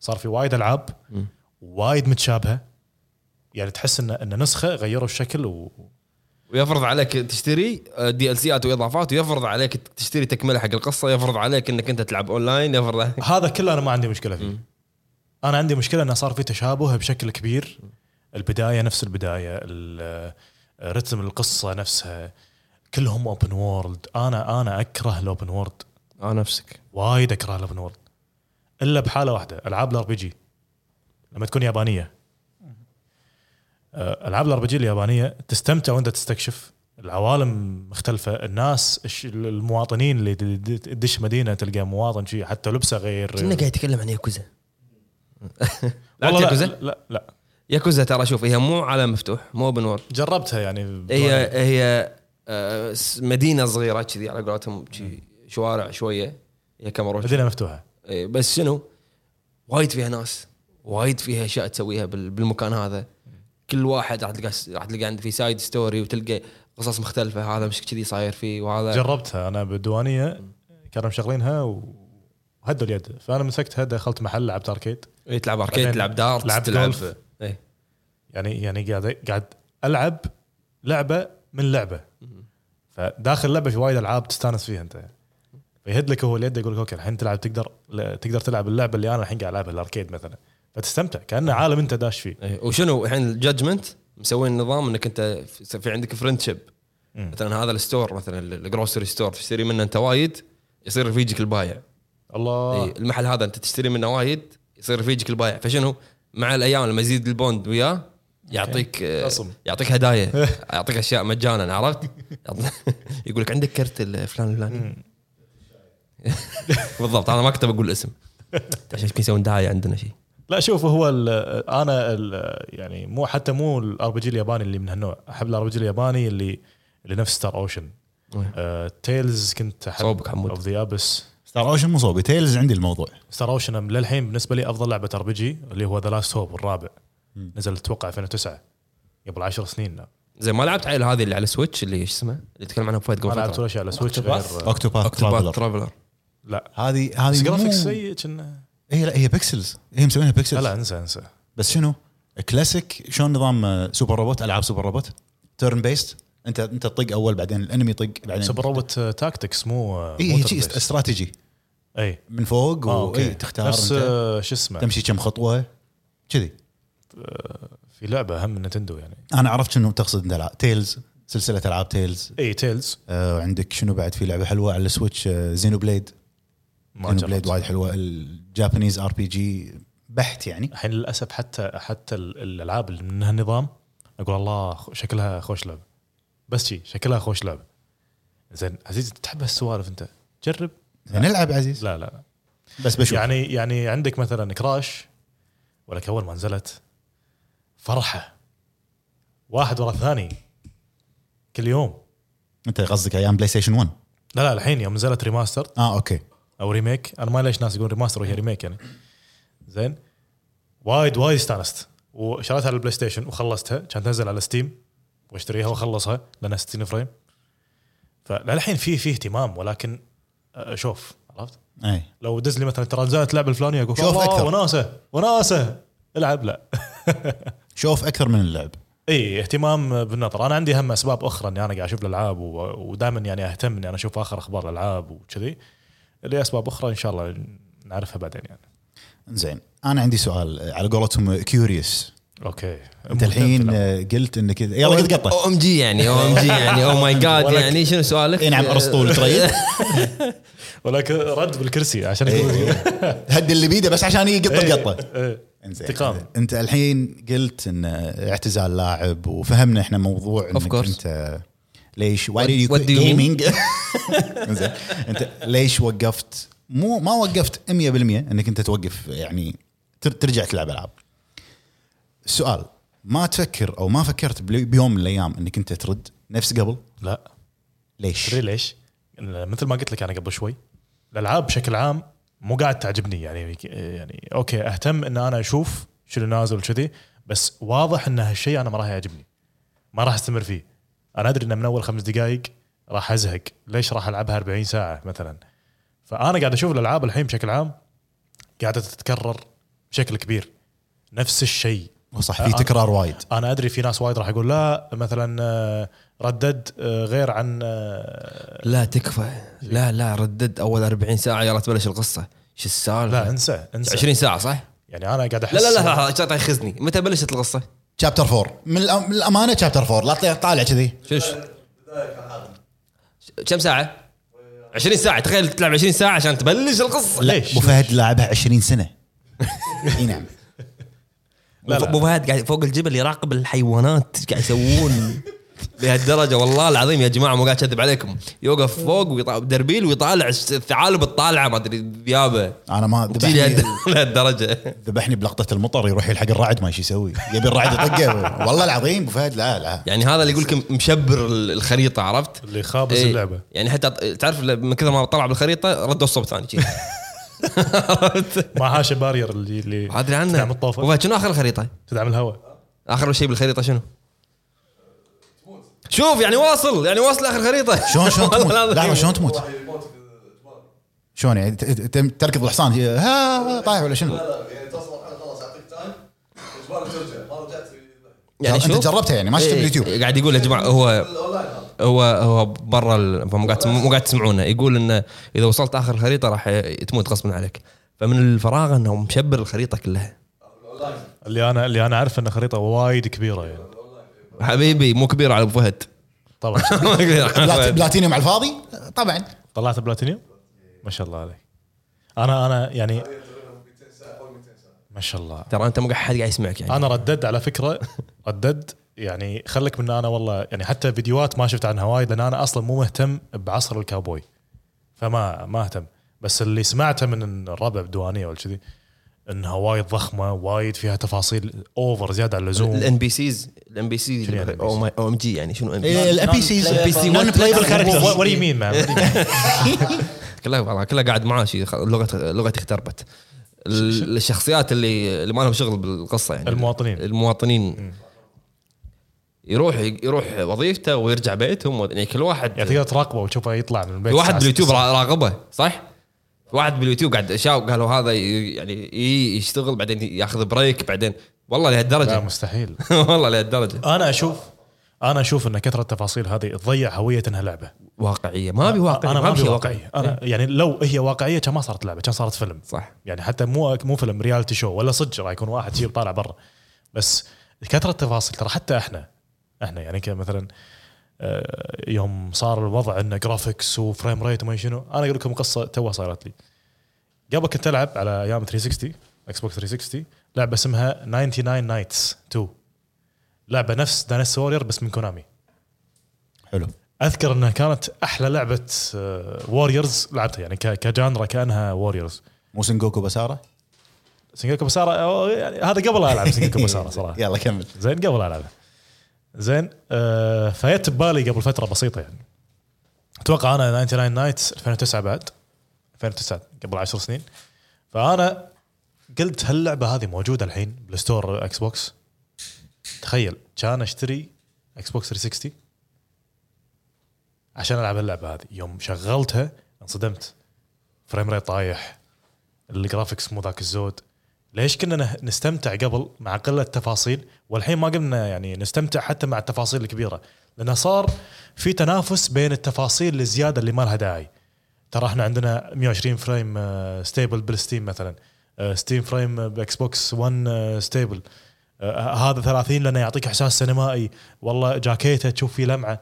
Speaker 4: صار في وايد العاب
Speaker 2: مم.
Speaker 4: وايد متشابهه يعني تحس ان ان نسخه غيروا الشكل و...
Speaker 2: ويفرض عليك تشتري آه، دي ال سيات واضافات ويفرض عليك تشتري تكمله حق القصه يفرض عليك انك انت تلعب اونلاين يفرض عليك
Speaker 4: هذا كله انا ما عندي مشكله فيه انا عندي مشكله انه صار في تشابه بشكل كبير البدايه نفس البدايه ال- رتم القصه نفسها كلهم اوبن وورلد انا انا اكره الاوبن وورلد
Speaker 2: اه نفسك
Speaker 4: وايد اكره الاوبن وورلد الا بحاله واحده العاب الار بي جي لما تكون يابانيه آه، العاب الار بي جي اليابانيه تستمتع وانت تستكشف العوالم مختلفه الناس الش- المواطنين اللي د- د- تدش مدينه تلقى مواطن شيء حتى لبسه غير
Speaker 2: كنا قاعد يتكلم عن ياكوزا لعبت
Speaker 4: والله لا,
Speaker 2: ياكوزا
Speaker 4: لا لا
Speaker 2: ياكوزا ترى شوف هي مو عالم مفتوح مو اوبن وورد
Speaker 4: جربتها يعني
Speaker 2: هي هي آه، س- مدينه صغيره كذي على قولتهم شي شوارع شويه هي كاميرا
Speaker 4: مدينه مفتوحه
Speaker 2: إيه، بس شنو وايد فيها ناس وايد فيها اشياء تسويها بال- بالمكان هذا كل واحد راح تلقى راح تلقى عنده في سايد ستوري وتلقى قصص مختلفه هذا مش كذي صاير فيه وهذا
Speaker 4: جربتها انا بالديوانيه كانوا مشغلينها وهدوا اليد فانا مسكتها دخلت محل لعبت اركيد
Speaker 2: إيه، تلعب اركيد
Speaker 4: بعدين
Speaker 2: تلعب دارت
Speaker 4: لعبت
Speaker 2: تلعب
Speaker 4: جولف.
Speaker 2: إيه.
Speaker 4: يعني يعني قاعد قاعد العب لعبه من لعبه فداخل لعبه في وايد العاب تستانس فيها انت فيهد لك هو اليد يقول لك اوكي الحين تلعب تقدر لا- تقدر تلعب اللعبه اللي انا الحين قاعد العبها الاركيد مثلا فتستمتع كانه عالم انت داش فيه
Speaker 2: إيه. وشنو الحين الجادجمنت مسوين نظام انك انت في في عندك فرندشيب
Speaker 4: مم.
Speaker 2: مثلا هذا الستور مثلا الجروسري ستور تشتري منه انت وايد يصير رفيجك البايع
Speaker 4: الله
Speaker 2: إيه، المحل هذا انت تشتري منه وايد يصير رفيجك البايع فشنو مع الايام لما يزيد البوند وياه يعطيك آه،
Speaker 4: خصم.
Speaker 2: يعطيك هدايا يعطيك اشياء مجانا عرفت؟ يقول لك عندك كرت الفلان الفلاني بالضبط انا ما كنت بقول اسم عشان يمكن يسوون دعايه عندنا شيء
Speaker 4: لا شوف هو ال انا ال يعني مو حتى مو الار بي جي الياباني اللي من هالنوع احب الار بي جي الياباني اللي اللي نفس ستار اوشن تيلز كنت احب
Speaker 2: صوبك حمود.
Speaker 4: اوف ذا ابس
Speaker 1: ستار اوشن مو صوبي تيلز عندي الموضوع
Speaker 4: ستار اوشن للحين بالنسبه لي افضل لعبه ار بي جي اللي هو ذا لاست هوب الرابع نزل اتوقع 2009 قبل 10 سنين لا.
Speaker 2: زين ما لعبت عيل هذه اللي على سويتش اللي ايش اسمها اللي تكلم عنها فهد
Speaker 4: ما
Speaker 2: قبل
Speaker 4: لعبت
Speaker 2: فتره
Speaker 4: ولا شيء على سويتش
Speaker 6: أوكتوباث؟
Speaker 4: غير
Speaker 1: اوكتوباث
Speaker 2: اوكتوباث
Speaker 1: ترافلر
Speaker 2: ترافلر
Speaker 4: لا
Speaker 1: هذه هذه
Speaker 4: بس
Speaker 1: مو-
Speaker 4: جرافيكس سيء كنا
Speaker 1: هي لا هي بيكسلز هي مسوينها
Speaker 4: لا
Speaker 1: بيكسلز
Speaker 4: لا انسى انسى
Speaker 1: بس شنو كلاسيك شلون نظام آه، سوبر روبوت العاب سوبر روبوت تيرن بيست انت انت تطق اول بعدين الانمي يطق بعدين
Speaker 4: سوبر روبوت تاكتكس آه، مو آه،
Speaker 1: اي
Speaker 4: مو
Speaker 1: هي
Speaker 4: turn
Speaker 1: إيه، شي
Speaker 4: based.
Speaker 1: استراتيجي
Speaker 4: اي
Speaker 1: من فوق
Speaker 4: آه،
Speaker 1: واي
Speaker 4: اوكي
Speaker 1: تختار
Speaker 4: نفس
Speaker 1: انت
Speaker 4: آه، شو اسمه
Speaker 1: تمشي كم خطوه كذي
Speaker 4: في لعبه هم من نتندو يعني
Speaker 1: انا عرفت شنو تقصد انت العاب تيلز سلسله العاب تيلز
Speaker 4: اي تيلز
Speaker 1: آه عندك شنو بعد في لعبه حلوه على السويتش آه زينو بليد
Speaker 4: ما
Speaker 1: زينو
Speaker 4: جربت
Speaker 1: بليد وايد حلوه الجابانيز ار بي جي بحت يعني
Speaker 4: الحين للاسف حتى حتى ال- الالعاب اللي من هالنظام اقول الله خ- شكلها خوش لعبه بس شي شكلها خوش لعبه زين عزيز تحب هالسوالف انت جرب
Speaker 1: نلعب عزيز
Speaker 4: لا لا
Speaker 1: بس بشوف يعني
Speaker 4: يعني يعني عندك مثلا كراش ولك اول ما نزلت فرحه واحد ورا الثاني كل يوم
Speaker 1: انت قصدك ايام بلاي ستيشن 1
Speaker 4: لا لا الحين يوم نزلت ريماستر
Speaker 1: اه اوكي
Speaker 4: او ريميك انا ما ليش ناس يقولون ريماستر وهي ريميك يعني زين وايد وايد استانست وشريتها على البلاي ستيشن وخلصتها كانت نزل على ستيم واشتريها واخلصها لانها 60 فريم فللحين في في اهتمام ولكن اشوف عرفت؟
Speaker 1: اي
Speaker 4: لو دز لي مثلا ترانزات لعب الفلانيه اقول
Speaker 1: شوف
Speaker 4: الله،
Speaker 1: أكثر.
Speaker 4: وناسه وناسه العب لا
Speaker 1: شوف اكثر من اللعب
Speaker 4: اي اهتمام بالنظر انا عندي هم اسباب اخرى اني انا قاعد اشوف الالعاب و- ودائما يعني اهتم اني انا اشوف اخر اخبار الالعاب وكذي لي اسباب اخرى ان شاء الله نعرفها بعدين يعني
Speaker 1: زين انا عندي سؤال آه، على قولتهم كيوريوس
Speaker 4: اوكي
Speaker 1: انت الحين آه، قلت انك يلا لا تقطع
Speaker 2: او ام جي يعني او ام جي يعني او ماي جاد يعني شنو سؤالك؟
Speaker 1: اي نعم ارسطو تريد
Speaker 4: ولكن رد بالكرسي عشان
Speaker 1: إيه.
Speaker 4: يقول
Speaker 1: هدي اللي بيده بس عشان يقط القطه
Speaker 4: إيه.
Speaker 1: انزين
Speaker 4: انتقام.
Speaker 1: انت الحين قلت ان اعتزال لاعب وفهمنا احنا موضوع
Speaker 2: Of
Speaker 1: انك
Speaker 2: course.
Speaker 1: انت ليش واي
Speaker 2: What- what do you mean?
Speaker 1: جيمنج انزين انت ليش وقفت مو ما وقفت 100% انك انت توقف يعني تر- ترجع تلعب العاب سؤال ما تفكر او ما فكرت بل- بيوم من الايام انك انت ترد نفس قبل
Speaker 4: لا
Speaker 1: ليش
Speaker 4: تدري ليش؟ مثل ما قلت لك انا قبل شوي الالعاب بشكل عام مو قاعد تعجبني يعني يعني اوكي اهتم ان انا اشوف شنو نازل وكذي بس واضح ان هالشيء انا ما راح يعجبني ما راح استمر فيه انا ادري ان من اول خمس دقائق راح ازهق ليش راح العبها 40 ساعه مثلا فانا قاعد اشوف الالعاب الحين بشكل عام قاعده تتكرر بشكل كبير نفس الشيء
Speaker 1: صح
Speaker 2: آه.
Speaker 1: في تكرار وايد
Speaker 4: انا ادري في ناس وايد راح يقول لا مثلا آه، ردد آه، غير عن آه،
Speaker 2: لا تكفى لا لا ردد اول 40 ساعه يلا تبلش القصه شو
Speaker 4: لا
Speaker 2: السالفه؟
Speaker 4: انسى انسى
Speaker 2: 20 ساعه صح؟
Speaker 4: يعني انا قاعد احس
Speaker 2: لا لا لا لا لا يخزني متى بلشت القصه؟
Speaker 1: شابتر 4 من الأ- من الامانه شابتر 4 لا تطلع- طالع كذي
Speaker 2: شنو كم ساعه؟ 20 ساعه تخيل تلعب 20 ساعه عشان تبلش القصه
Speaker 1: لا
Speaker 4: ليش؟
Speaker 1: ابو فهد لاعبها 20 سنه اي نعم
Speaker 4: لا، لا.
Speaker 2: ابو فهد قاعد فوق الجبل يراقب الحيوانات ايش قاعد يسوون لهالدرجه والله العظيم يا جماعه مو قاعد اكذب عليكم يوقف فوق ويطلع بدربيل ويطالع الثعالب الطالعه ما ادري الذيابه
Speaker 1: انا ما
Speaker 2: تجي
Speaker 1: ذبحني
Speaker 2: لهالد- لهالدرجه
Speaker 1: ذبحني بلقطه المطر يروح يلحق الرعد ما ايش يسوي يبي الرعد يطقه والله العظيم ابو فهد لا لا
Speaker 2: يعني هذا اللي يقول لك مشبر ال- الخريطه عرفت؟
Speaker 4: اللي خابص
Speaker 2: إيه.
Speaker 4: اللعبه
Speaker 2: يعني حتى تعرف من كثر ما طلع بالخريطه ردوا الصوب ثاني جي.
Speaker 4: ما حاشه بارير اللي اللي
Speaker 2: ما ادري عنه
Speaker 4: تدعم
Speaker 2: أبو
Speaker 4: الطوفه
Speaker 2: فهد شنو اخر خريطه؟
Speaker 4: تدعم الهواء
Speaker 2: اخر شيء بالخريطه شنو؟ شوف يعني واصل يعني واصل اخر خريطه
Speaker 1: شلون شلون
Speaker 2: والله
Speaker 1: تموت
Speaker 2: العظيم.
Speaker 1: لحظه شلون تموت شلون يعني ت- ت- تم- تركض الحصان هي- ها طايح ولا شنو
Speaker 2: يعني
Speaker 1: انت
Speaker 2: شوف.
Speaker 1: جربتها يعني ما شفت
Speaker 2: إيه،
Speaker 1: باليوتيوب
Speaker 2: قاعد يقول يا جماعه هو هو هو برا ال- فمو قاعد مو قاعد تسمعونه يقول انه اذا وصلت اخر خريطه راح تموت غصبا عليك فمن الفراغ انه مشبر الخريطه كلها
Speaker 4: اللي انا اللي انا اعرف ان خريطه وايد كبيره يعني
Speaker 2: حبيبي مو كبير على ابو فهد
Speaker 4: طبعا
Speaker 1: بلات- بلاتينيوم على الفاضي طبعا
Speaker 4: طلعت بلاتينيوم ما شاء الله عليك انا انا يعني ما شاء الله
Speaker 2: ترى انت مو قاعد حد قاعد يسمعك يعني
Speaker 4: انا ردد على فكره ردد يعني خلك من انا والله يعني حتى فيديوهات ما شفت عنها وايد لان انا اصلا مو مهتم بعصر الكاوبوي فما ما اهتم بس اللي سمعته من الربع بدوانيه ولا كذي انها وايد ضخمه وايد فيها تفاصيل اوفر زياده عن اللزوم
Speaker 2: الان بي سيز الان بي سيز
Speaker 4: شنو يعني
Speaker 2: او ام جي يعني شنو ام
Speaker 4: إيه،
Speaker 2: بي
Speaker 1: الام بي سيز
Speaker 6: Non-playable
Speaker 1: نون بلايبل كاركترز
Speaker 4: وات يو مان
Speaker 2: كلها والله كلها قاعد معاه شي خ- لغه لغتي اختربت ال- الشخصيات اللي اللي ما لهم شغل بالقصه يعني
Speaker 4: المواطنين.
Speaker 2: المواطنين يروح يروح وظيفته ويرجع بيتهم و- يعني كل واحد
Speaker 4: يعني تقدر تراقبه وتشوفه يطلع من البيت
Speaker 2: في واحد
Speaker 4: الساعة
Speaker 2: باليوتيوب
Speaker 4: ستة.
Speaker 2: را- راقبه صح؟ في واحد باليوتيوب قاعد شاو قالوا هذا ي- يعني ي- يشتغل بعدين ياخذ بريك بعدين والله
Speaker 4: لا
Speaker 2: لهالدرجه
Speaker 4: مستحيل
Speaker 2: والله لهالدرجه
Speaker 4: انا اشوف انا اشوف ان كثره التفاصيل هذه تضيع هويه انها لعبه
Speaker 2: واقعيه طيب، ما إيه. ابي واقعيه
Speaker 4: انا ما
Speaker 2: أبي
Speaker 4: ابي
Speaker 2: شيء
Speaker 4: واقعيه انا يعني لو هي واقعيه كان ما صارت لعبه كان صارت فيلم
Speaker 2: صح
Speaker 4: يعني حتى مو مو فيلم ريالتي شو ولا صدق راح يكون واحد يجيب طالع برا بس كثره التفاصيل ترى حتى احنا احنا يعني كمثلا آه، يوم صار الوضع انه جرافيكس وفريم ريت وما شنو انا اقول لكم قصه توها صارت لي قبل كنت العب على ايام 360 اكس بوكس 360 لعبه اسمها 99 نايتس 2 لعبه نفس دانس وورير بس من كونامي
Speaker 1: حلو
Speaker 4: اذكر انها كانت احلى لعبه ووريرز لعبتها يعني ك- كجانرا كانها ووريرز
Speaker 1: مو سنجوكو بساره
Speaker 4: سنجاكو بسارة أو يعني هذا قبل لا العب سنجاكو بسارة صراحه
Speaker 1: يلا كمل
Speaker 4: زين قبل لا العب زين آه فجت ببالي قبل فتره بسيطه يعني اتوقع انا 99 نايتس 2009 بعد 2009 قبل 10 سنين فانا قلت هل اللعبه هذه موجوده الحين بالستور اكس بوكس تخيل كان اشتري اكس بوكس 360 عشان العب اللعبه هذه يوم شغلتها انصدمت فريم ريت طايح الجرافكس مو ذاك الزود ليش كنا نه- نستمتع قبل مع قله التفاصيل والحين ما قمنا يعني نستمتع حتى مع التفاصيل الكبيره لانه صار في تنافس بين التفاصيل الزياده اللي ما لها داعي ترى احنا عندنا 120 فريم آه، ستيبل بالستيم مثلا ستيم آه، فريم باكس بوكس 1 ستيبل آه، هذا 30 لانه يعطيك احساس سينمائي والله جاكيته تشوف فيه لمعه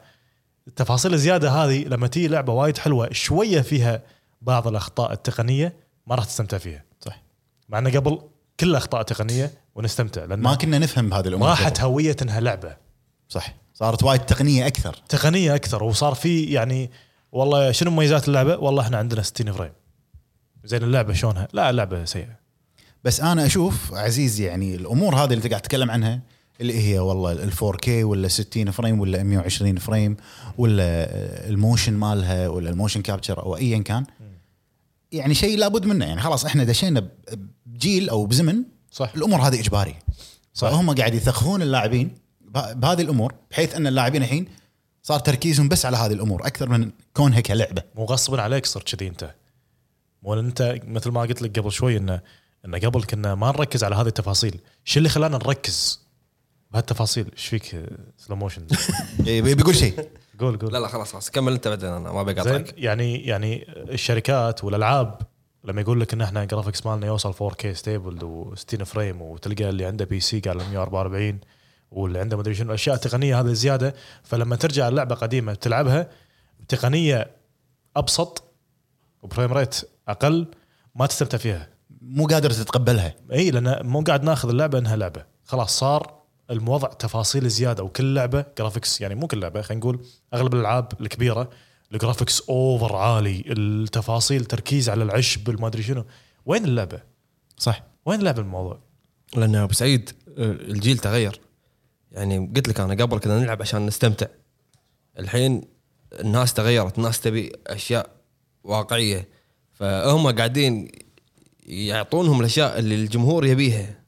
Speaker 4: التفاصيل الزياده هذه لما تيجي لعبه وايد حلوه شويه فيها بعض الاخطاء التقنيه ما راح تستمتع فيها
Speaker 1: صح.
Speaker 4: مع انه قبل كل اخطاء تقنيه ونستمتع لان
Speaker 1: ما كنا نفهم بهذه الامور
Speaker 4: راحت
Speaker 1: قبل.
Speaker 4: هويه انها لعبه
Speaker 1: صح صارت وايد تقنيه اكثر
Speaker 4: تقنيه اكثر وصار في يعني والله شنو مميزات اللعبه؟ والله احنا عندنا 60 فريم زين اللعبه شلونها؟ لا اللعبه سيئه
Speaker 1: بس انا اشوف عزيز يعني الامور هذه اللي أنت قاعد تتكلم عنها اللي هي والله ال 4K ولا 60 فريم ولا 120 فريم ولا الموشن مالها ولا الموشن كابتشر او ايا كان يعني شيء لابد منه يعني خلاص احنا دشينا بجيل او بزمن
Speaker 4: صح.
Speaker 1: الامور هذه اجباريه
Speaker 4: صح.
Speaker 1: صح هم قاعد يثقفون اللاعبين به- بهذه الامور بحيث ان اللاعبين الحين صار تركيزهم بس على هذه الامور اكثر من كونها كلعبه
Speaker 4: مو غصبا عليك صرت كذي انت مو لأن انت مثل ما قلت لك قبل شوي انه انه قبل كنا ما نركز على هذه التفاصيل، شو اللي خلانا نركز بهالتفاصيل؟ ايش فيك سلو موشن؟
Speaker 1: إيه، بي- بيقول شيء
Speaker 4: قول قول
Speaker 2: لا لا خلاص خلاص كمل انت بعدين انا ما
Speaker 4: زين
Speaker 2: بقاطعك
Speaker 4: يعني يعني الشركات والالعاب لما يقول لك ان احنا جرافيكس مالنا يوصل 4K ستيبل و60 فريم وتلقى اللي عنده بي سي قال 144 واللي عنده مدري شنو الاشياء التقنيه هذه زياده فلما ترجع اللعبه قديمه تلعبها بتقنيه ابسط وبريم ريت اقل ما تستمتع فيها
Speaker 1: مو قادر تتقبلها
Speaker 4: اي لان إيه، مو قاعد ناخذ اللعبه انها لعبه خلاص صار الموضع تفاصيل زياده وكل لعبه جرافيكس يعني مو كل لعبه خلينا نقول اغلب الالعاب الكبيره الجرافيكس اوفر عالي التفاصيل تركيز على العشب ما ادري شنو وين اللعبه؟
Speaker 1: صح
Speaker 4: وين اللعبه الموضوع؟
Speaker 2: لان ابو سعيد آه، الجيل تغير يعني قلت لك انا قبل كنا نلعب عشان نستمتع الحين الناس تغيرت الناس تبي اشياء واقعيه فهم قاعدين يعطونهم الاشياء اللي الجمهور يبيها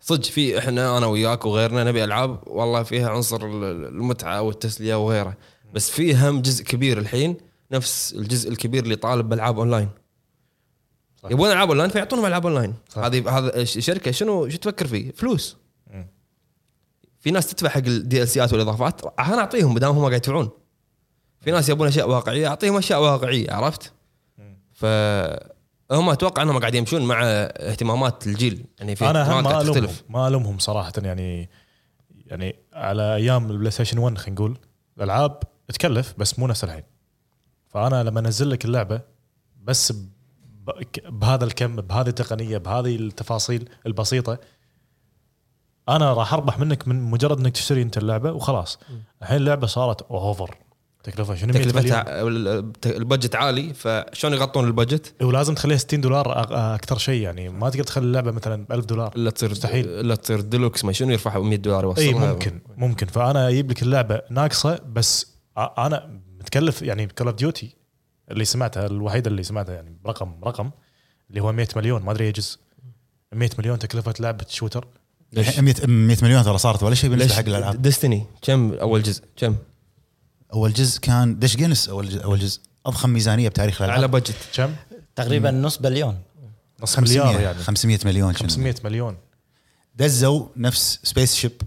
Speaker 2: صدق في احنا انا وياك وغيرنا نبي العاب والله فيها عنصر ال- ال- المتعه والتسليه وغيره بس في هم جزء كبير الحين نفس الجزء الكبير اللي طالب بالعاب اونلاين
Speaker 4: صح.
Speaker 2: يبون العاب اونلاين فيعطونهم العاب اونلاين
Speaker 4: صح.
Speaker 2: هذه هذا الش- الشركه شنو شو تفكر فيه؟ فلوس في ناس تدفع حق الدي ال سيات والاضافات انا اعطيهم بدام هم قاعد يدفعون في ناس يبون اشياء واقعيه اعطيهم اشياء واقعيه عرفت؟ فهم اتوقع انهم قاعد يمشون مع اهتمامات الجيل يعني في
Speaker 4: انا
Speaker 2: اهتمامات
Speaker 4: هم ما
Speaker 2: قاعد
Speaker 4: الومهم
Speaker 2: تختلف
Speaker 4: ما الومهم صراحه يعني يعني على ايام البلاي ستيشن 1 خلينا نقول الالعاب تكلف بس مو نفس الحين فانا لما انزل لك اللعبه بس ب- ك- بهذا الكم بهذه التقنيه بهذه التفاصيل البسيطه انا راح اربح منك من مجرد انك تشتري انت اللعبه وخلاص الحين اللعبه صارت اوفر تكلفه شنو 100 مليون؟
Speaker 2: تكلفتها البجت عالي فشلون يغطون البجت؟
Speaker 4: ولازم تخليها 60 دولار أ- اكثر شيء يعني ما تقدر تخلي اللعبه مثلا ب 1000 دولار
Speaker 2: الا تصير
Speaker 4: مستحيل.
Speaker 2: الا تصير ديلوكس ما شنو يرفعها 100 دولار يوصلها
Speaker 4: اي إيه، ممكن ممكن فانا اجيب لك اللعبه ناقصه بس أ- انا متكلف يعني كول اوف ديوتي اللي سمعتها الوحيده اللي سمعتها يعني برقم رقم اللي هو 100 مليون ما ادري يجز 100 مليون تكلفه لعبه شوتر
Speaker 2: ليش؟
Speaker 1: 100 مليون ترى صارت ولا شيء بالنسبه
Speaker 2: ليش
Speaker 1: حق الالعاب
Speaker 2: ديستني كم اول جزء؟ كم؟
Speaker 1: اول جزء كان دش جينس اول جزء اول جزء اضخم ميزانيه بتاريخ
Speaker 2: على
Speaker 1: الالعاب
Speaker 2: بجت
Speaker 4: كم؟
Speaker 6: تقريبا نص بليون
Speaker 4: نص
Speaker 1: 500
Speaker 4: مليار يعني
Speaker 1: 500 مليون
Speaker 4: 500 مليون
Speaker 1: دزوا نفس سبيس شيب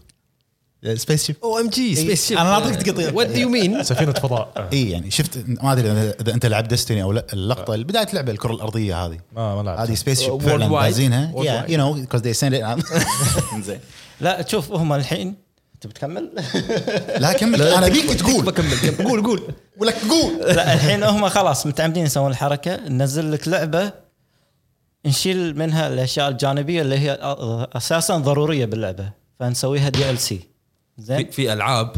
Speaker 1: سبيس شيب
Speaker 2: او ام جي سبيس شيب
Speaker 1: أنا أعطيك تقطيع.
Speaker 2: وات دو يو مين؟
Speaker 4: سفينه فضاء
Speaker 1: اي يعني شفت ما ادري إذا- اذا انت لعبت ديستني او لا اللقطه اللي بدايه لعبه الكره الارضيه هذه
Speaker 4: ما ما لعبت
Speaker 1: هذه سبيس شيب
Speaker 2: آه. Worldwide.
Speaker 1: فعلا بازينها
Speaker 2: Worldwide.
Speaker 1: يو نو كوز ذي سيند زين
Speaker 6: لا تشوف هم الحين انت بتكمل؟
Speaker 1: لا كمل انا بيك تقول
Speaker 2: بكمل كمل. قول قول
Speaker 1: ولك تقول
Speaker 6: لا الحين هم خلاص متعمدين يسوون الحركه ننزل لك لعبه نشيل منها الاشياء الجانبيه اللي هي اساسا ضروريه باللعبه فنسويها دي ال سي
Speaker 2: في,
Speaker 6: زين
Speaker 2: في العاب